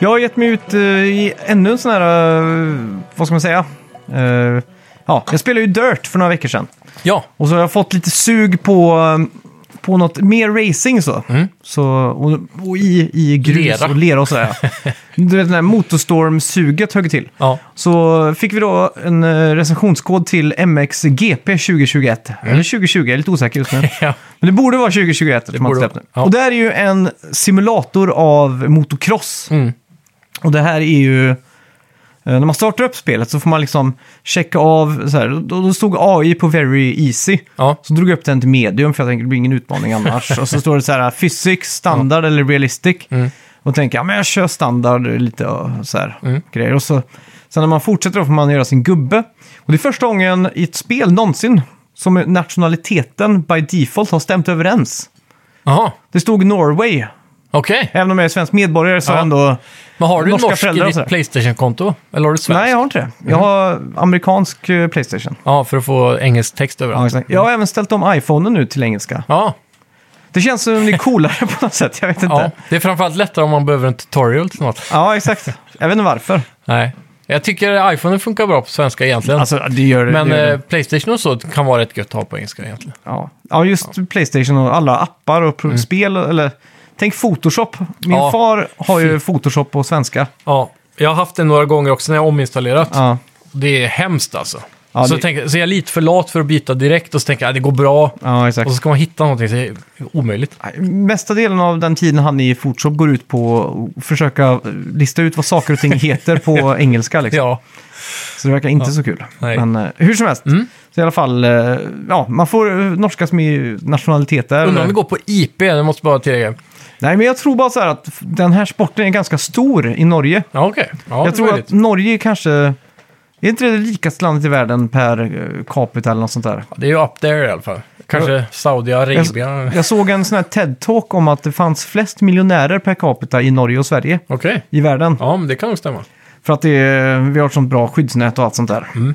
[SPEAKER 1] Jag har gett mig ut eh, i ännu en sån här, eh, vad ska man säga? Eh, ja, jag spelade ju Dirt för några veckor sedan.
[SPEAKER 2] Ja,
[SPEAKER 1] Och så har jag fått lite sug på, eh, på något mer racing så.
[SPEAKER 2] Mm.
[SPEAKER 1] så och, och i, i grus
[SPEAKER 2] Lera.
[SPEAKER 1] och lera och sådär. ja.
[SPEAKER 2] [LAUGHS]
[SPEAKER 1] du vet, den här motorstorm-suget högg till.
[SPEAKER 2] ja.
[SPEAKER 1] Så fick vi då en eh, recensionskod till MXGP 2021.
[SPEAKER 2] Mm.
[SPEAKER 1] Eller 2020, jag är lite osäker just nu.
[SPEAKER 2] [LAUGHS] ja.
[SPEAKER 1] Men det borde vara 2021 eftersom man
[SPEAKER 2] borde
[SPEAKER 1] släppte.
[SPEAKER 2] vara, ja.
[SPEAKER 1] Och det här är ju en simulator av motocross.
[SPEAKER 2] Mm.
[SPEAKER 1] Och det här är ju... eh, När man startar upp spelet så får man liksom checka av, så här, då, då stod AI på Very Easy.
[SPEAKER 2] ja.
[SPEAKER 1] Så drog jag upp den till medium för jag tänkte det blir ingen utmaning annars. och så står det så här, physics, standard eller realistic.
[SPEAKER 2] Mm.
[SPEAKER 1] Och tänker, ja men jag kör standard lite ja, så här
[SPEAKER 2] Mm.
[SPEAKER 1] grejer. Och så, sen när man fortsätter då får man göra sin gubbe. Och det är första gången i ett spel någonsin som nationaliteten by default har stämt överens.
[SPEAKER 2] Jaha,
[SPEAKER 1] Det stod Norway.
[SPEAKER 2] okej.
[SPEAKER 1] Även om jag är svensk medborgare så har
[SPEAKER 2] Ja.
[SPEAKER 1] jag ändå...
[SPEAKER 2] Men har du
[SPEAKER 1] Norska
[SPEAKER 2] norsk i
[SPEAKER 1] föräldrar och
[SPEAKER 2] ditt
[SPEAKER 1] sådär.
[SPEAKER 2] Playstation-konto? Eller har du svenskt?
[SPEAKER 1] Nej, jag har inte det.
[SPEAKER 2] Mm.
[SPEAKER 1] Jag har amerikansk eh, Playstation.
[SPEAKER 2] Ja, för att få engelsk text
[SPEAKER 1] Ja,
[SPEAKER 2] överallt.
[SPEAKER 1] exakt. Jag har även ställt om iPhonen nu till engelska.
[SPEAKER 2] ja.
[SPEAKER 1] Det känns som det är coolare [LAUGHS] på något sätt, jag vet inte.
[SPEAKER 2] Ja, det är framförallt lättare om man behöver en tutorial till något.
[SPEAKER 1] Ja, exakt. Jag vet inte varför.
[SPEAKER 2] Nej. Jag tycker iPhone funkar bra på svenska egentligen.
[SPEAKER 1] Alltså, det gör det.
[SPEAKER 2] men
[SPEAKER 1] det gör
[SPEAKER 2] eh,
[SPEAKER 1] det.
[SPEAKER 2] Playstation och så kan vara rätt gött att ha på engelska egentligen.
[SPEAKER 1] Ja. ja, just Playstation och alla appar och pro- spel. Eller, tänk Photoshop. Min
[SPEAKER 2] Mm. Ja.
[SPEAKER 1] far har ju Photoshop på svenska.
[SPEAKER 2] Ja, jag har haft det några gånger också när jag ominstallerat.
[SPEAKER 1] Ja,
[SPEAKER 2] Det är hemskt alltså.
[SPEAKER 1] Ja,
[SPEAKER 2] så,
[SPEAKER 1] det-
[SPEAKER 2] jag tänker, så jag är lite för lat för att byta direkt och så tänker jag att det går bra.
[SPEAKER 1] ja exakt.
[SPEAKER 2] Och så ska man hitta någonting, så är det omöjligt.
[SPEAKER 1] Nej, Mesta delen av den tiden han är i Photoshop går ut på att försöka eh, lista ut vad saker och ting heter på engelska. Liksom.
[SPEAKER 2] [LAUGHS] Ja,
[SPEAKER 1] Så det verkar inte så kul.
[SPEAKER 2] Nej. Mm.
[SPEAKER 1] Men eh, hur som helst, så i alla fall, eh, ja, man får eh, norska som är nationalitet där.
[SPEAKER 2] undrar om det går på IP, det måste bara tillägga.
[SPEAKER 1] Nej, men jag tror bara så här att f- den här sporten är ganska stor i Norge.
[SPEAKER 2] Ja, okej. Ja,
[SPEAKER 1] jag
[SPEAKER 2] det
[SPEAKER 1] tror
[SPEAKER 2] var
[SPEAKER 1] att
[SPEAKER 2] lite.
[SPEAKER 1] Norge kanske... Är inte det det rikaste landet i världen per eh, capita eller något sånt där?
[SPEAKER 2] Det är ju up there i alla fall. Kanske Saudiarabien.
[SPEAKER 1] Jag såg en sån här TED-talk om att det fanns flest miljonärer per capita i Norge och Sverige
[SPEAKER 2] Okej.
[SPEAKER 1] i världen.
[SPEAKER 2] Ja, men det kan nog stämma.
[SPEAKER 1] För att det är, vi har ett sånt bra skyddsnät och allt sånt där.
[SPEAKER 2] Mm.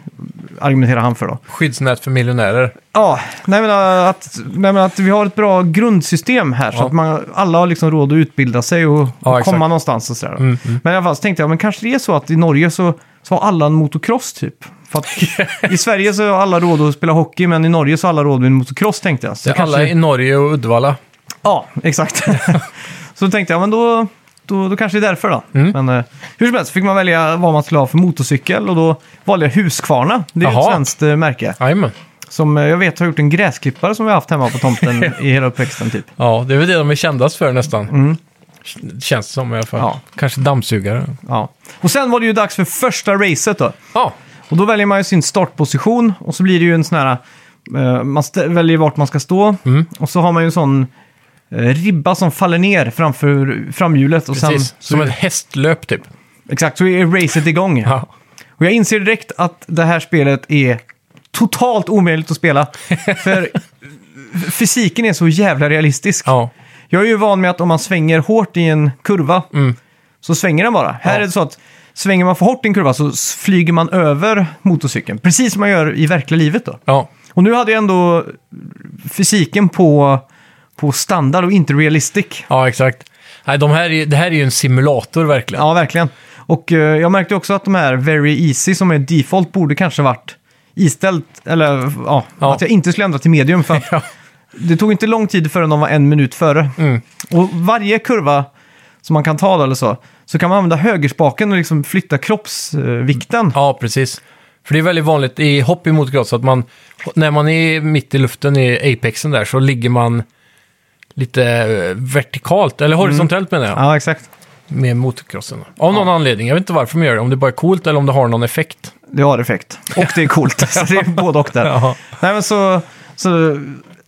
[SPEAKER 1] Argumenterar han för då.
[SPEAKER 2] Skyddsnät för miljonärer.
[SPEAKER 1] Ja, nej men, äh, att, nej men att vi har ett bra grundsystem här så
[SPEAKER 2] Ja.
[SPEAKER 1] att man, alla har liksom råd att utbilda sig och,
[SPEAKER 2] Ja,
[SPEAKER 1] och
[SPEAKER 2] exakt. Mm,
[SPEAKER 1] komma någonstans och sådär. Men i alla fall så tänkte jag, men kanske det är så att i Norge så, så har alla en motocross typ. För
[SPEAKER 2] [LAUGHS]
[SPEAKER 1] att I Sverige så har alla råd att spela hockey men i Norge så har alla råd med en motocross tänkte jag. Så
[SPEAKER 2] Det är
[SPEAKER 1] kanske-
[SPEAKER 2] [LAUGHS] alla i Norge och Uddevalla.
[SPEAKER 1] Ja, exakt. så då tänkte jag, men då, då, då kanske det är därför då.
[SPEAKER 2] Mm.
[SPEAKER 1] Men eh, hur som helst fick man välja vad man skulle ha för motorcykel och då valde jag Husqvarna. Det är ju ett
[SPEAKER 2] Jaha.
[SPEAKER 1] svenskt eh, märke.
[SPEAKER 2] Jajamän.
[SPEAKER 1] Som eh, jag vet har gjort en gräsklippare som vi har haft hemma på
[SPEAKER 2] [LAUGHS]
[SPEAKER 1] tomten i hela uppväxten typ.
[SPEAKER 2] Ja, det är väl det de är kändast för nästan. K- Känns det som i alla fall.
[SPEAKER 1] Mm. Ja.
[SPEAKER 2] Kanske dammsugare.
[SPEAKER 1] Ja. Och sen var det ju dags för första racet då.
[SPEAKER 2] Ja,
[SPEAKER 1] Och då väljer man ju sin startposition och så blir det ju en sån här... eh, man stä- väljer vart man ska stå
[SPEAKER 2] Mm.
[SPEAKER 1] och så har man ju en sån eh, ribba som faller ner framför framhjulet. Och sen,
[SPEAKER 2] precis. som ett hästlöp typ.
[SPEAKER 1] Exakt, så är racet igång.
[SPEAKER 2] Ja.
[SPEAKER 1] Och jag inser direkt att det här spelet är totalt omöjligt att
[SPEAKER 2] [LAUGHS]
[SPEAKER 1] spela. För fysiken är så jävla realistisk.
[SPEAKER 2] ja.
[SPEAKER 1] Jag är ju van med att om man svänger hårt i en kurva så svänger den bara. Här är det så att svänger man för hårt i en kurva så s- flyger man över motorcykeln. Precis som man gör i verkliga livet då.
[SPEAKER 2] Ja.
[SPEAKER 1] Och nu hade jag ändå fysiken på, på standard och inte realistic.
[SPEAKER 2] ja, exakt. Nej, de här är, det här är ju en simulator verkligen.
[SPEAKER 1] Ja, verkligen. Och eh, jag märkte också att de här Very Easy som är default borde kanske varit iställt. Eller ja,
[SPEAKER 2] Ja.
[SPEAKER 1] att jag inte skulle ändra till medium.
[SPEAKER 2] [LAUGHS]
[SPEAKER 1] För att
[SPEAKER 2] Ja. Mm.
[SPEAKER 1] Det tog inte lång tid förrän de var en minut före. Och varje kurva som man kan ta då eller så, så kan man använda högerspaken och liksom flytta kroppsvikten.
[SPEAKER 2] Ja, precis. För det är väldigt vanligt i hopp emot grad, så att man, när man är mitt i luften i apexen där så ligger man lite eh, vertikalt, eller horisontellt menar jag,
[SPEAKER 1] Mm. Ja, exakt.
[SPEAKER 2] med motocrossen. Av någon anledning, jag vet inte varför man gör det, om det bara är coolt eller om det har någon effekt.
[SPEAKER 1] Det har effekt. Och det är
[SPEAKER 2] [LAUGHS]
[SPEAKER 1] coolt. så det är både och där.
[SPEAKER 2] Ja.
[SPEAKER 1] Nej, men så... så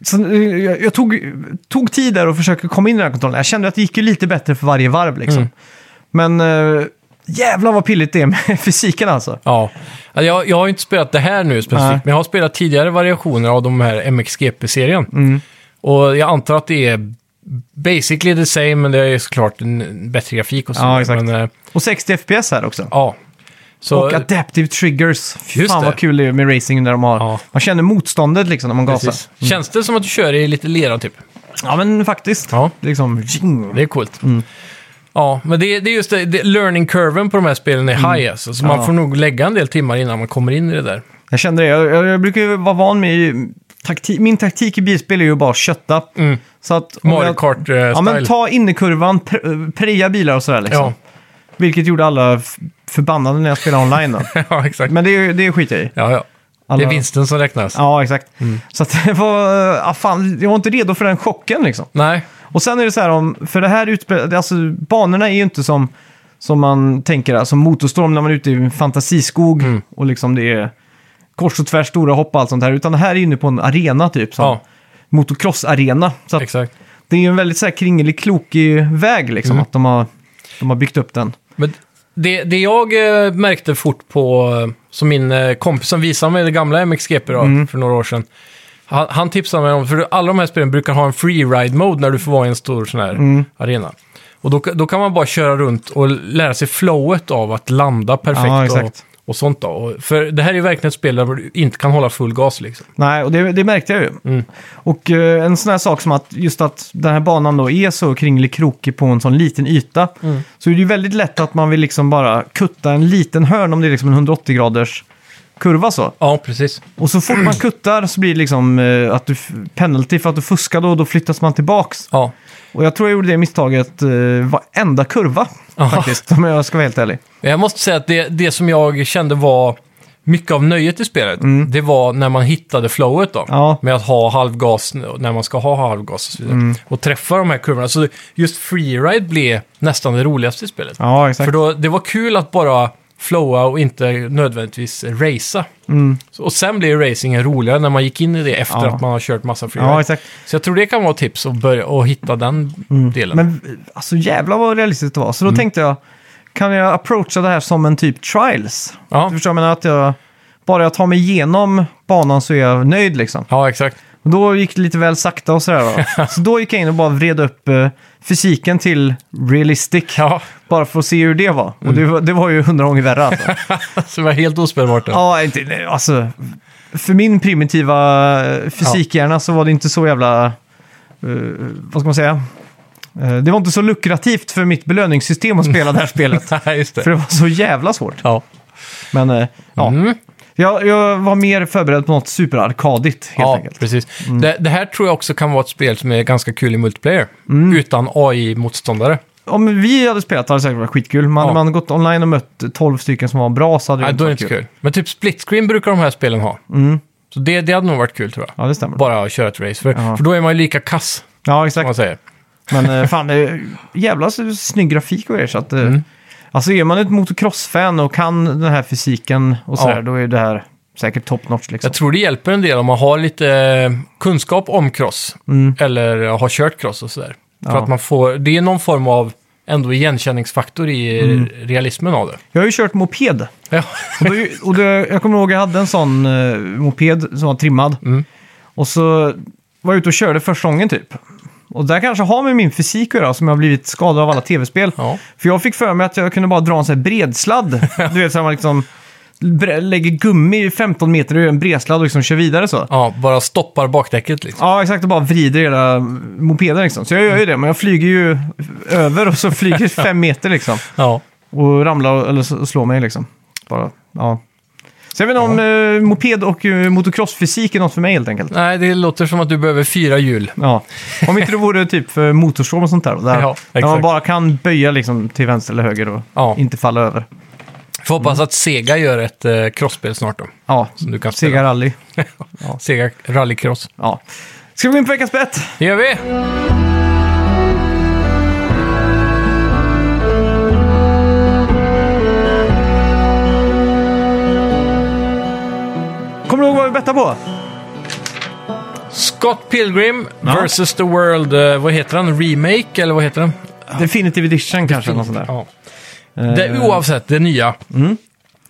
[SPEAKER 1] så eh, jag jag tog, tog tid där och försökte komma in i den här kontrollen. Jag kände att det gick ju lite bättre för varje varv liksom.
[SPEAKER 2] Mm.
[SPEAKER 1] Men äh, jävlar vad pilligt det är med [LAUGHS] fysiken alltså.
[SPEAKER 2] Ja. Alltså, Jag, jag har ju inte spelat det här nu specifikt,
[SPEAKER 1] Nej.
[SPEAKER 2] men jag har spelat tidigare variationer av de här MXGP-serien.
[SPEAKER 1] Mm.
[SPEAKER 2] Och jag antar att det är basically the same, men det är såklart en bättre grafik och så.
[SPEAKER 1] Ja, exakt.
[SPEAKER 2] Men, eh,
[SPEAKER 1] Och 60 FPS här också.
[SPEAKER 2] ja. Så,
[SPEAKER 1] Och adaptive triggers. Fy
[SPEAKER 2] Just
[SPEAKER 1] fan
[SPEAKER 2] det.
[SPEAKER 1] vad kul det är med racing när de har...
[SPEAKER 2] Ja.
[SPEAKER 1] Man känner motståndet liksom när man gasar.
[SPEAKER 2] Precis. Känns det som att du kör i lite lera typ?
[SPEAKER 1] Ja men faktiskt.
[SPEAKER 2] Ja.
[SPEAKER 1] Liksom... jing.
[SPEAKER 2] Det är coolt.
[SPEAKER 1] Mm.
[SPEAKER 2] Ja, men det, det är just det, det, learning curven på de här spelen är high alltså, så
[SPEAKER 1] Mm. Ja.
[SPEAKER 2] man får nog lägga en del timmar innan man kommer in i
[SPEAKER 1] [LAUGHS]
[SPEAKER 2] det där.
[SPEAKER 1] Jag kände det. Jag, jag, jag brukar ju vara van med... ju- Takti min taktik i bilspel är ju bara att kötta. Så att om
[SPEAKER 2] Mario
[SPEAKER 1] jag-
[SPEAKER 2] Kart-style.
[SPEAKER 1] Ja, men ta innerkurvan, pre- preja bilar och sådär liksom.
[SPEAKER 2] ja.
[SPEAKER 1] Vilket gjorde alla f- förbannade när jag spelade online [LAUGHS] då.
[SPEAKER 2] ja, exakt.
[SPEAKER 1] Men det, är Mm. ju- det skiter jag i.
[SPEAKER 2] ja, ja. Det
[SPEAKER 1] Alla-
[SPEAKER 2] är vinsten som räknas.
[SPEAKER 1] Ja, exakt. Så att [LAUGHS] det var... Ja, fan, jag var inte redo för den chocken liksom.
[SPEAKER 2] Nej,
[SPEAKER 1] Och sen är det så här om... För det här utspelar... Alltså, banorna är ju inte som, som man tänker, alltså motorstorm när man är ute i en fantasiskog och liksom det är kors och tvärs, stora hopp och allt sånt här. Utan det här är inne på en arena typ. Som
[SPEAKER 2] Ja.
[SPEAKER 1] Motocross-arena. Så att
[SPEAKER 2] exakt.
[SPEAKER 1] det är ju en väldigt så här kringelig, krokig väg liksom. Att de har, de har byggt upp den.
[SPEAKER 2] Men det, det jag eh, märkte fort på, eh, som min eh, kompis som visade mig det gamla MXGP då,
[SPEAKER 1] Mm.
[SPEAKER 2] för några år sedan. Han, han tipsade mig om, för alla de här spelen brukar ha en freeride-mode när du får vara i en stor sån här
[SPEAKER 1] Mm.
[SPEAKER 2] arena. Och då, då kan man bara köra runt och lära sig flowet av att landa
[SPEAKER 1] Ja,
[SPEAKER 2] perfekt och,
[SPEAKER 1] exakt.
[SPEAKER 2] och sånt då. Och, för det här är ju verkligen ett spel där du inte kan hålla full gas liksom.
[SPEAKER 1] Nej, och det, det märkte jag ju.
[SPEAKER 2] Mm.
[SPEAKER 1] Och eh, en sån här sak som att just att den här banan då är så kringlig krokig på en sån liten yta.
[SPEAKER 2] Mm.
[SPEAKER 1] Så är det ju väldigt lätt att man vill liksom bara kutta en liten hörn om det är liksom en 180-graders kurva så.
[SPEAKER 2] Ja, precis.
[SPEAKER 1] Och så fort man kuttar så blir det liksom eh, att du f- penalty för att du fuskade och då flyttas man tillbaks.
[SPEAKER 2] Ja,
[SPEAKER 1] Och jag tror jag gjorde det misstaget eh, varenda kurva
[SPEAKER 2] Aha.
[SPEAKER 1] faktiskt, om jag ska vara helt ärlig.
[SPEAKER 2] Men Jag måste säga att det, det som jag kände var mycket av nöjet i spelet, det var när man hittade flowet då.
[SPEAKER 1] Mm. Ja. Mm.
[SPEAKER 2] Med att ha halvgas n- när man ska ha halvgas och så vidare. Och träffa de här kurvorna. Så just freeride blev nästan det roligaste i spelet.
[SPEAKER 1] Ja, exakt.
[SPEAKER 2] För då, det var kul att bara flowa och inte nödvändigtvis racea. Så- Och sen blev ju racingen roligare när man gick in i det efter
[SPEAKER 1] Mm. Ja.
[SPEAKER 2] att man har kört massa freeride.
[SPEAKER 1] Ja, exakt. Mm.
[SPEAKER 2] Så jag tror det kan vara ett tips att börja och hitta den delen.
[SPEAKER 1] Men alltså jävla vad realistiskt det var. Så då tänkte jag, kan jag approacha det här som en typ trials?
[SPEAKER 2] Ja.
[SPEAKER 1] Du förstår, jag menar att jag, bara jag tar mig igenom banan så är jag nöjd liksom.
[SPEAKER 2] Ja, exakt. [LAUGHS]
[SPEAKER 1] Och Då gick det lite väl sakta och sådär va. Så då gick jag in och bara vred upp eh, fysiken till realistic.
[SPEAKER 2] Ja,
[SPEAKER 1] Bara för att se hur det var. Och det, var- det var ju hundra gånger värre alltså.
[SPEAKER 2] så det var helt ospelbart. då.
[SPEAKER 1] ja, inte, nej, alltså. För min primitiva eh, fysikhjärna så var det inte så jävla... eh, vad ska man säga? Eh, det var inte så lukrativt för mitt belöningssystem att
[SPEAKER 2] [LAUGHS]
[SPEAKER 1] spela det här spelet.
[SPEAKER 2] Nej, just det.
[SPEAKER 1] För det var så jävla svårt.
[SPEAKER 2] Ja.
[SPEAKER 1] Men eh, ja.
[SPEAKER 2] Mm.
[SPEAKER 1] Jag, jag var mer förberedd på något superarkadigt helt
[SPEAKER 2] ja,
[SPEAKER 1] enkelt. Mm.
[SPEAKER 2] precis.
[SPEAKER 1] Mm.
[SPEAKER 2] Det, det här tror jag också kan vara ett spel som är ganska kul i multiplayer. Utan AI-motståndare.
[SPEAKER 1] om vi hade spelat hade det säkert varit skitkul. Men
[SPEAKER 2] Ja.
[SPEAKER 1] hade man gått online och mött 12 stycken som var bra så Mm. hade det
[SPEAKER 2] Nej, då är det inte
[SPEAKER 1] varit
[SPEAKER 2] kul. Men typ split screen brukar de här spelen ha. Så det, det hade nog varit kul tror jag.
[SPEAKER 1] Ja, det stämmer.
[SPEAKER 2] Bara köra ett race. För,
[SPEAKER 1] Ja.
[SPEAKER 2] för då är man ju lika kass,
[SPEAKER 1] Ja,
[SPEAKER 2] om man
[SPEAKER 1] exakt.
[SPEAKER 2] säger.
[SPEAKER 1] Men eh, fan, det är jävla s- snygg grafik och er, så att, eh,
[SPEAKER 2] Mm.
[SPEAKER 1] Alltså är man ett motocross-fan och kan den här fysiken och sådär,
[SPEAKER 2] Ja.
[SPEAKER 1] då är det här säkert top notch liksom.
[SPEAKER 2] Jag tror det hjälper en del om man har lite eh, kunskap om cross. Eller har kört cross och sådär. För
[SPEAKER 1] Mm. Ja.
[SPEAKER 2] att man får, det är någon form av ändå igenkänningsfaktor i
[SPEAKER 1] Mm.
[SPEAKER 2] realismen av det.
[SPEAKER 1] Jag har ju kört moped.
[SPEAKER 2] Ja,
[SPEAKER 1] Och då,
[SPEAKER 2] [LAUGHS]
[SPEAKER 1] och då, jag kommer ihåg jag hade en sån eh, moped som var trimmad.
[SPEAKER 2] Mm.
[SPEAKER 1] Och så var jag ute och körde första gången typ. Och där kanske har med min fysik att göra, som jag har blivit skadad av alla tv-spel.
[SPEAKER 2] Ja.
[SPEAKER 1] För jag fick för mig att jag kunde bara dra en sån här bredsladd. du vet, så här man liksom bre- lägger gummi i 15 meter och gör en bredsladd och liksom kör vidare så.
[SPEAKER 2] [LAUGHS] ja bara stoppar bakdäcket liksom.
[SPEAKER 1] Ja, exakt. Och bara vrider hela mopeden liksom. Så jag gör ju det, men jag flyger ju över och så
[SPEAKER 2] [LAUGHS]
[SPEAKER 1] flyger fem meter liksom.
[SPEAKER 2] Ja.
[SPEAKER 1] Och ramlar och- eller s- slår mig liksom. Bara, ja. Så jag vet inte om eh, moped och eh, motocrossfysik är något för mig helt enkelt.
[SPEAKER 2] Nej, det låter som att du behöver fyra hjul.
[SPEAKER 1] Ja. Om inte det vore typ för motorsåg och sånt där. Där,
[SPEAKER 2] [LAUGHS] Ja,
[SPEAKER 1] där
[SPEAKER 2] exakt.
[SPEAKER 1] man bara kan böja liksom till vänster eller höger och
[SPEAKER 2] Ja.
[SPEAKER 1] inte falla över.
[SPEAKER 2] Får hoppas att Sega gör ett eh, crossspel snart då.
[SPEAKER 1] Ja,
[SPEAKER 2] Som du kan spela.
[SPEAKER 1] Sega Rally.
[SPEAKER 2] Sega rallycross.
[SPEAKER 1] Ja. Ska vi gå in på veckans bett?
[SPEAKER 2] Det gör vi!
[SPEAKER 1] Kommer du ihåg vad vi bettade på?
[SPEAKER 2] Scott Pilgrim vs. The World, eh, vad heter den? Remake eller vad heter den?
[SPEAKER 1] Definitive Edition kanske, något sånt där. Eh, Mm.
[SPEAKER 2] Ja. Det, oavsett, det nya.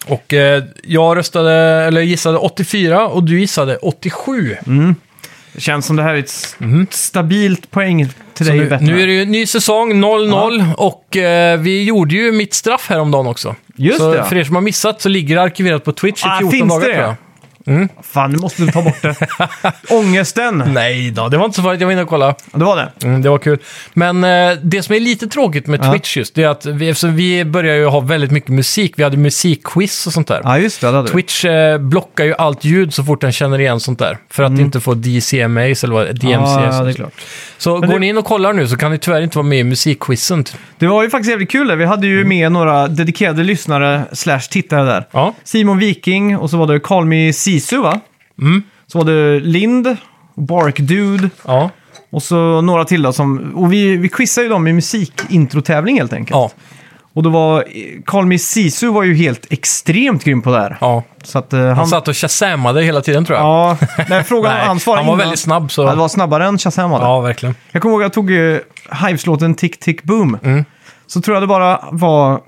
[SPEAKER 2] Och eh, jag röstade, eller gissade 84 och du gissade 87.
[SPEAKER 1] Mm. Det känns som det här är ett s- stabilt poäng till
[SPEAKER 2] Så
[SPEAKER 1] dig i
[SPEAKER 2] nu,
[SPEAKER 1] bettet.
[SPEAKER 2] nu är det ju ny säsong, 0-0. Och eh, vi gjorde ju mitt straff häromdagen också.
[SPEAKER 1] Just
[SPEAKER 2] så
[SPEAKER 1] det, ja.
[SPEAKER 2] för er som har missat så ligger det arkiverat på Twitch i
[SPEAKER 1] Ah,
[SPEAKER 2] 14
[SPEAKER 1] finns
[SPEAKER 2] dagar
[SPEAKER 1] det
[SPEAKER 2] tror
[SPEAKER 1] det?
[SPEAKER 2] jag. Mm.
[SPEAKER 1] Fan, nu måste du ta bort
[SPEAKER 2] [LAUGHS]
[SPEAKER 1] det. Ångesten!
[SPEAKER 2] Nej då, det var inte så farligt. Jag var inne och kollade.
[SPEAKER 1] Det var det.
[SPEAKER 2] Mm, det var kul. Men eh, det som är lite tråkigt med Twitch just, det är att vi, eftersom vi börjar ju ha väldigt mycket musik. Vi hade musikquiz och sånt där.
[SPEAKER 1] Ja, just det. det hade du.
[SPEAKER 2] Twitch eh, blockar ju allt ljud så fort den känner igen sånt där. För att inte få DCMAs eller vad DMCs.
[SPEAKER 1] Mm. Ja, ja, det är klart.
[SPEAKER 2] Så
[SPEAKER 1] Men
[SPEAKER 2] går
[SPEAKER 1] det-
[SPEAKER 2] ni in och kollar nu så kan ni tyvärr inte vara med i musikquizen. typ.
[SPEAKER 1] Det var ju faktiskt jävligt kul. Där. Vi hade
[SPEAKER 2] Mm.
[SPEAKER 1] ju med några dedikerade lyssnare slash tittare där.
[SPEAKER 2] Ja.
[SPEAKER 1] Simon Viking och så var det Call Me Sisu va?
[SPEAKER 2] Mm.
[SPEAKER 1] Så var det Lind, Bark Dude
[SPEAKER 2] Ja.
[SPEAKER 1] och så några till då som... Och vi, vi quizade ju dem i musikintrotävling helt enkelt.
[SPEAKER 2] Ja.
[SPEAKER 1] Och det var... Call Me Sisu var ju helt extremt grym på det här.
[SPEAKER 2] ja.
[SPEAKER 1] Så att eh, han...
[SPEAKER 2] Han satt och shazamade hela tiden tror jag.
[SPEAKER 1] Ja, nej, frågan
[SPEAKER 2] [LAUGHS] Nej,
[SPEAKER 1] han svarade
[SPEAKER 2] han var
[SPEAKER 1] innan.
[SPEAKER 2] väldigt snabb, så-
[SPEAKER 1] Ja, det var snabbare än Shazam var det.
[SPEAKER 2] Ja, verkligen.
[SPEAKER 1] Jag kommer ihåg att jag tog eh, Hives-låten Tick Tick Boom.
[SPEAKER 2] Mm.
[SPEAKER 1] Så tror jag det bara var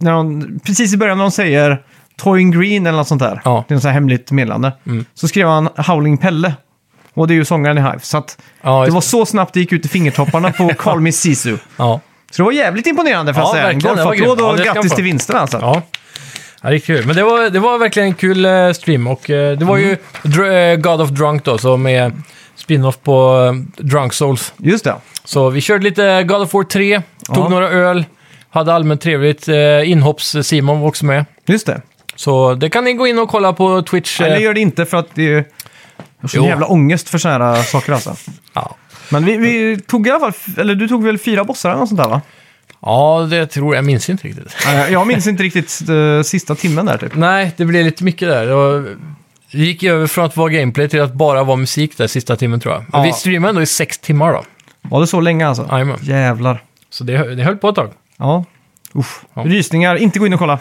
[SPEAKER 1] när de, precis i början när de säger Toying Green eller något sånt där.
[SPEAKER 2] Ja. Mm.
[SPEAKER 1] Det är något så här hemligt meddelande. Så skrev han Howling Pelle. Och det är ju sångaren i Hive. Så att
[SPEAKER 2] Ja,
[SPEAKER 1] det
[SPEAKER 2] just
[SPEAKER 1] var
[SPEAKER 2] det.
[SPEAKER 1] så snabbt det gick ut i fingertopparna
[SPEAKER 2] [LAUGHS]
[SPEAKER 1] på Call Me Sisu.
[SPEAKER 2] Ja.
[SPEAKER 1] Så det var jävligt imponerande för
[SPEAKER 2] Ja,
[SPEAKER 1] att säga. En
[SPEAKER 2] verkligen. Det var
[SPEAKER 1] golfapplåd
[SPEAKER 2] grymt. Ja,
[SPEAKER 1] och
[SPEAKER 2] det ska han
[SPEAKER 1] grattis
[SPEAKER 2] få.
[SPEAKER 1] till vinsten alltså.
[SPEAKER 2] Ja. Ja, det är kul. Men det var, det var verkligen en kul eh, stream och eh, det var
[SPEAKER 1] Mm.
[SPEAKER 2] ju Dr- eh, God of Drunk då som är spin-off på eh, Drunk Souls.
[SPEAKER 1] Just det.
[SPEAKER 2] Så vi körde lite God of War 3, tog
[SPEAKER 1] Ja.
[SPEAKER 2] några öl, hade allmänt trevligt. Eh, Inhopps-Simon var också med.
[SPEAKER 1] Just det.
[SPEAKER 2] Så det kan ni gå in och kolla på Twitch. eh,
[SPEAKER 1] Eller gör det inte för att det är jag har sån
[SPEAKER 2] Jo.
[SPEAKER 1] jävla ångest för såna här saker alltså.
[SPEAKER 2] ja.
[SPEAKER 1] Men vi, vi tog i alla fall, eller du tog väl fyra bossar eller något sånt där va?
[SPEAKER 2] ja, det tror jag. Jag minns inte riktigt.
[SPEAKER 1] Nej, Jag minns inte riktigt eh, sista timmen där typ.
[SPEAKER 2] Nej, det blev lite mycket där. Det var- Det gick över från att vara gameplay till att bara vara musik där sista timmen tror jag. Men
[SPEAKER 1] Ja.
[SPEAKER 2] vi streamade ändå i sex timmar då.
[SPEAKER 1] Var det så länge alltså?
[SPEAKER 2] Jajamän.
[SPEAKER 1] Jävlar.
[SPEAKER 2] Så det, hö- det höll på ett tag.
[SPEAKER 1] Ja. Uff. Rysningar, inte gå in och
[SPEAKER 2] [LAUGHS]
[SPEAKER 1] kolla.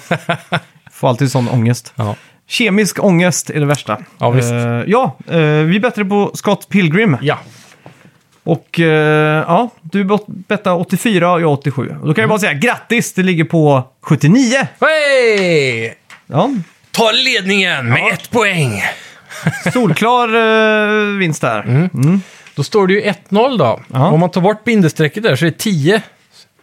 [SPEAKER 1] Får alltid sån ångest.
[SPEAKER 2] Ja.
[SPEAKER 1] Kemisk ångest är det värsta.
[SPEAKER 2] Ja, visst.
[SPEAKER 1] Eh, ja, eh, vi är bättre på Scott Pilgrim.
[SPEAKER 2] ja.
[SPEAKER 1] Och eh, ja, du bet- bettade 84 och jag 87. Och
[SPEAKER 2] Mm.
[SPEAKER 1] då kan jag bara säga grattis, det ligger på 79.
[SPEAKER 2] Hej!
[SPEAKER 1] Ja,
[SPEAKER 2] Ta ledningen med ett poäng!
[SPEAKER 1] solklar eh, vinst där.
[SPEAKER 2] Mm. Då står det ju 1-0 då.
[SPEAKER 1] Ja.
[SPEAKER 2] Om man tar bort bindestrecket där så är det 10.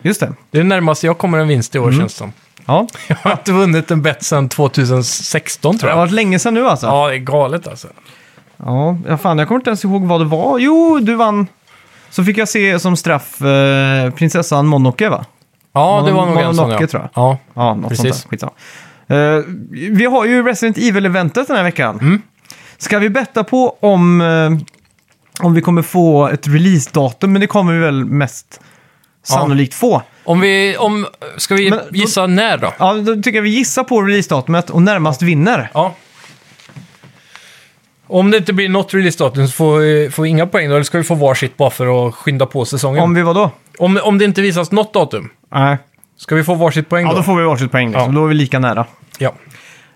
[SPEAKER 1] Just det.
[SPEAKER 2] Det är det närmaste jag kommer en vinst i år känns det som.
[SPEAKER 1] Ja.
[SPEAKER 2] Mm. [LAUGHS] Jag har inte vunnit en bet sedan 2016 tror
[SPEAKER 1] Det har
[SPEAKER 2] jag.
[SPEAKER 1] varit länge sedan nu alltså.
[SPEAKER 2] Ja, det är galet alltså.
[SPEAKER 1] Ja, ja, fan jag kommer inte ens ihåg vad det var. Jo, du vann. Så fick jag se som straff eh, prinsessan Monoke va?
[SPEAKER 2] Ja,
[SPEAKER 1] Mono-
[SPEAKER 2] det var nog en sån
[SPEAKER 1] Mononoke,
[SPEAKER 2] ja.
[SPEAKER 1] tror jag.
[SPEAKER 2] Ja.
[SPEAKER 1] Ja, något
[SPEAKER 2] Precis.
[SPEAKER 1] sånt där. Skitsamma. Eh, vi har ju Resident Evil-eventet den här veckan.
[SPEAKER 2] Mm.
[SPEAKER 1] Ska vi betta på om, eh, om vi kommer få ett releasedatum? Men det kommer vi väl mest sannolikt få.
[SPEAKER 2] Om vi, om, ska vi
[SPEAKER 1] Men då-
[SPEAKER 2] gissa när då?
[SPEAKER 1] Ja, då tycker jag vi gissar på releasedatumet och närmast vinner.
[SPEAKER 2] Ja. Om det inte blir något release-datum så får vi, får vi inga poäng då, eller ska vi få varsitt bara för att skynda på säsongen?
[SPEAKER 1] Om
[SPEAKER 2] Om,
[SPEAKER 1] vi var då?
[SPEAKER 2] om, det inte visas något datum,
[SPEAKER 1] Nej.
[SPEAKER 2] ska vi få varsitt poäng
[SPEAKER 1] Ja,
[SPEAKER 2] då?
[SPEAKER 1] då får vi varsitt poäng liksom.
[SPEAKER 2] Ja.
[SPEAKER 1] Då är vi lika nära.
[SPEAKER 2] Ja.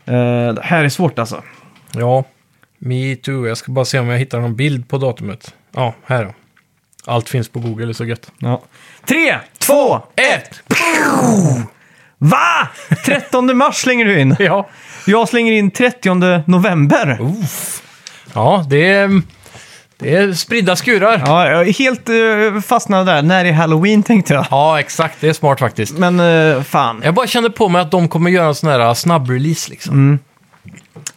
[SPEAKER 1] Eh, det här är svårt alltså.
[SPEAKER 2] Ja. Me too. Jag ska bara se om jag hittar någon bild på datumet. Ja, här då. Allt finns på Google, det är så gött.
[SPEAKER 1] Ja. Tre, två,
[SPEAKER 2] Ett!
[SPEAKER 1] va? 13 mars slänger du in.
[SPEAKER 2] [LAUGHS] Ja.
[SPEAKER 1] Jag slänger in 30 november.
[SPEAKER 2] Ja, det är, det är spridda skurar. Ja.
[SPEAKER 1] Ja, jag är helt eh, fastnad där. När är halloween tänkte jag.
[SPEAKER 2] exakt. Det är smart faktiskt.
[SPEAKER 1] Men eh, fan.
[SPEAKER 2] Jag bara kände på mig att de kommer göra en sån här äh, snabbrelease liksom.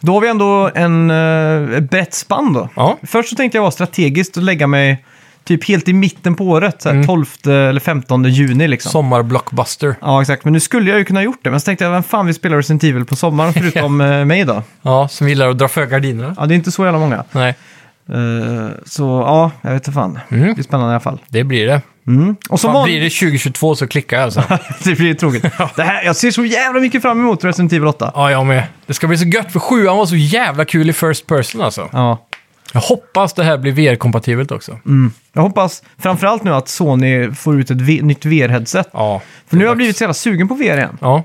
[SPEAKER 1] Då har vi ändå en eh, ett brett spann då.
[SPEAKER 2] Ja.
[SPEAKER 1] Först så tänkte jag vara strategiskt och lägga mig typ helt i mitten på året. Så här 12 eller 15 juni liksom.
[SPEAKER 2] Sommarblockbuster.
[SPEAKER 1] Ja, exakt. Men nu skulle jag ju kunna gjort det. Men så tänkte jag, vem fan vi spelar Resident Evil på sommaren förutom eh, mig då?
[SPEAKER 2] Ja, som gillar att dra för gardinerna.
[SPEAKER 1] Ja, det är inte så jävla många.
[SPEAKER 2] Nej,
[SPEAKER 1] Eh, så ja, jag vet inte fan.
[SPEAKER 2] Mm.
[SPEAKER 1] Det är spännande i alla fall.
[SPEAKER 2] det blir det.
[SPEAKER 1] Mm. Och som
[SPEAKER 2] Fan, blir
[SPEAKER 1] vanligt...
[SPEAKER 2] det 2022 så klickar jag [LAUGHS] alltså.
[SPEAKER 1] [LAUGHS] det blir tråkigt.
[SPEAKER 2] [LAUGHS]
[SPEAKER 1] det här, jag ser så jävla mycket fram emot Resident Evil 8.
[SPEAKER 2] ja, jag med. Det ska bli så gött, för sjuan var så jävla kul i first person alltså.
[SPEAKER 1] Ja. mm.
[SPEAKER 2] Jag hoppas det här blir VR-kompatibelt också.
[SPEAKER 1] Jag hoppas framförallt nu att Sony får ut ett v- nytt VR-headset.
[SPEAKER 2] Ja.
[SPEAKER 1] För nu har
[SPEAKER 2] det är
[SPEAKER 1] jag blivit
[SPEAKER 2] dags.
[SPEAKER 1] så jävla sugen på VR igen.
[SPEAKER 2] Ja.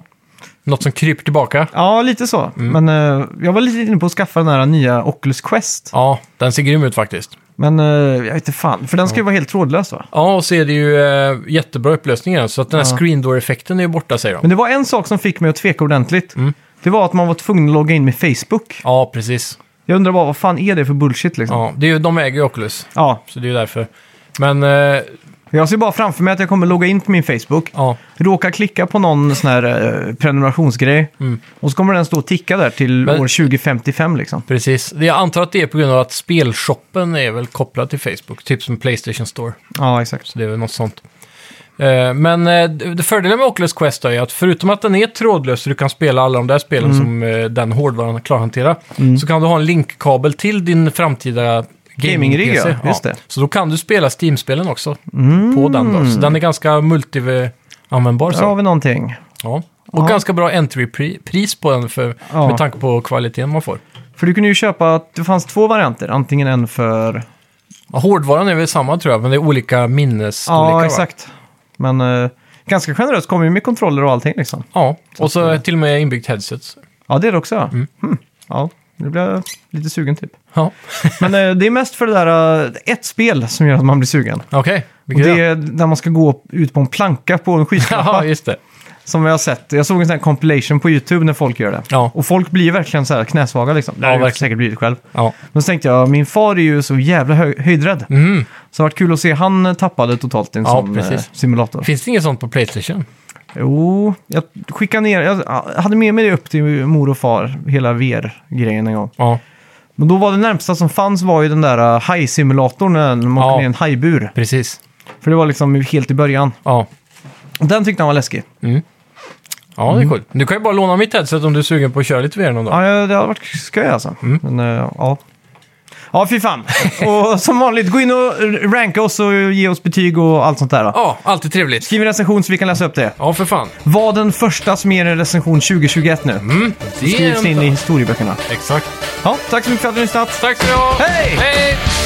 [SPEAKER 2] Något som kryper tillbaka.
[SPEAKER 1] Ja, lite så.
[SPEAKER 2] Mm.
[SPEAKER 1] Men eh, jag var lite inne på att skaffa den här nya Oculus Quest.
[SPEAKER 2] Ja, den ser grym ut faktiskt.
[SPEAKER 1] Men eh, jag vet inte fan, för den ska ju vara helt trådlös va?
[SPEAKER 2] Ja, och så är det ju eh, jättebra upplösning i den, så att den här
[SPEAKER 1] Ja.
[SPEAKER 2] screen door-effekten är ju borta säger de.
[SPEAKER 1] Men det var en sak som fick mig att tveka ordentligt.
[SPEAKER 2] Mm.
[SPEAKER 1] Det var att man var tvungen att logga in med Facebook.
[SPEAKER 2] Ja, precis.
[SPEAKER 1] Jag undrar bara, vad fan är det för bullshit liksom? Ja.
[SPEAKER 2] Ja, det är ju, de äger ju Oculus, så det är ju därför. Men, eh,
[SPEAKER 1] Jag ser bara framför mig att jag kommer logga in på min Facebook,
[SPEAKER 2] ja.
[SPEAKER 1] råka klicka på någon sån här eh, prenumerationsgrej och så kommer den stå och ticka där till
[SPEAKER 2] Mm. Men-
[SPEAKER 1] år 2055 liksom.
[SPEAKER 2] Precis. Jag antar att det är på grund av att spelshoppen är väl kopplad till Facebook, typ som Playstation Store.
[SPEAKER 1] Ja, exakt.
[SPEAKER 2] Så det är väl något sånt. Eh, Men eh, det det fördelen med Oculus Quest då är att förutom att den är trådlös så du kan spela alla de där spelen
[SPEAKER 1] Mm.
[SPEAKER 2] som eh, den hårdvaran klarhanterar, så kan du ha en linkkabel till din framtida
[SPEAKER 1] Gaming-rigg,
[SPEAKER 2] gaming-PC.
[SPEAKER 1] ja. Just det.
[SPEAKER 2] Så då kan du spela Steam-spelen också på den. Då. Så den är ganska multi-användbar.
[SPEAKER 1] Där har
[SPEAKER 2] Så.
[SPEAKER 1] vi någonting.
[SPEAKER 2] Ja. Och
[SPEAKER 1] Ja.
[SPEAKER 2] ganska bra entry-pris på den för,
[SPEAKER 1] Ja.
[SPEAKER 2] med tanke på kvaliteten man får.
[SPEAKER 1] För du kunde ju köpa, det fanns två varianter, antingen en för...
[SPEAKER 2] Ja, hårdvaran är väl samma tror jag, men det är olika minnesstorlekar.
[SPEAKER 1] ja,
[SPEAKER 2] va?
[SPEAKER 1] exakt. Men eh, ganska generöst kommer ju med kontroller och allting liksom.
[SPEAKER 2] Ja, och så till och med inbyggt headset.
[SPEAKER 1] Ja, det är det också. ja.
[SPEAKER 2] Mm.
[SPEAKER 1] Hmm. Ja, nu blir jag lite sugen typ.
[SPEAKER 2] Ja,
[SPEAKER 1] Men eh, det är mest för det där eh, ett spel som gör att man blir sugen.
[SPEAKER 2] okej.
[SPEAKER 1] Och
[SPEAKER 2] vilket
[SPEAKER 1] det
[SPEAKER 2] är-
[SPEAKER 1] är där man ska gå ut på en planka på en
[SPEAKER 2] [LAUGHS] Ja,
[SPEAKER 1] skyskrapa.
[SPEAKER 2] just det.
[SPEAKER 1] som jag har sett. Jag såg en sån här compilation på YouTube när folk gör det.
[SPEAKER 2] Ja.
[SPEAKER 1] Och folk blir verkligen så här knäsvaga liksom. Det
[SPEAKER 2] Ja,
[SPEAKER 1] har jag
[SPEAKER 2] verkligen.
[SPEAKER 1] säkert blivit själv.
[SPEAKER 2] Ja.
[SPEAKER 1] Men så tänkte jag, min far är ju så jävla hö- höjdrädd.
[SPEAKER 2] Mm.
[SPEAKER 1] Så det har varit kul att se han eh, tappade totalt i en
[SPEAKER 2] Ja,
[SPEAKER 1] sån eh,
[SPEAKER 2] precis.
[SPEAKER 1] simulator.
[SPEAKER 2] Finns det inget sånt på Playstation?
[SPEAKER 1] Jo, jag skickade ner, jag hade med mig det upp till mor och far, hela VR-grejen en gång.
[SPEAKER 2] Ja,
[SPEAKER 1] Men då var det närmsta som fanns var ju den där eh, hajsimulatorn eh, när man
[SPEAKER 2] Ja.
[SPEAKER 1] åker ner i en hajbur.
[SPEAKER 2] precis.
[SPEAKER 1] För det var liksom helt i början.
[SPEAKER 2] Ja,
[SPEAKER 1] Och den tyckte han var läskig.
[SPEAKER 2] ja det är coolt. Du kan ju bara låna mitt headset om du är sugen på att köra lite VR någon dag.
[SPEAKER 1] Mm. Ja, ja, det har varit skoj alltså. Men eh, ja. Ja, fy fan. och som vanligt, gå in och ranka oss och ge oss betyg och allt sånt där. Då.
[SPEAKER 2] Ja, alltid trevligt.
[SPEAKER 1] Skriv en recension så vi kan läsa upp det.
[SPEAKER 2] Ja, för fan.
[SPEAKER 1] Var den första som ger en recension 2021 nu.
[SPEAKER 2] Mm, det
[SPEAKER 1] Skrivs in i
[SPEAKER 2] inte-
[SPEAKER 1] historieböckerna.
[SPEAKER 2] Exakt.
[SPEAKER 1] Ja, tack så mycket för att ni har lyssnat.
[SPEAKER 2] Tack ska du ha.
[SPEAKER 1] Hej!
[SPEAKER 2] Hej!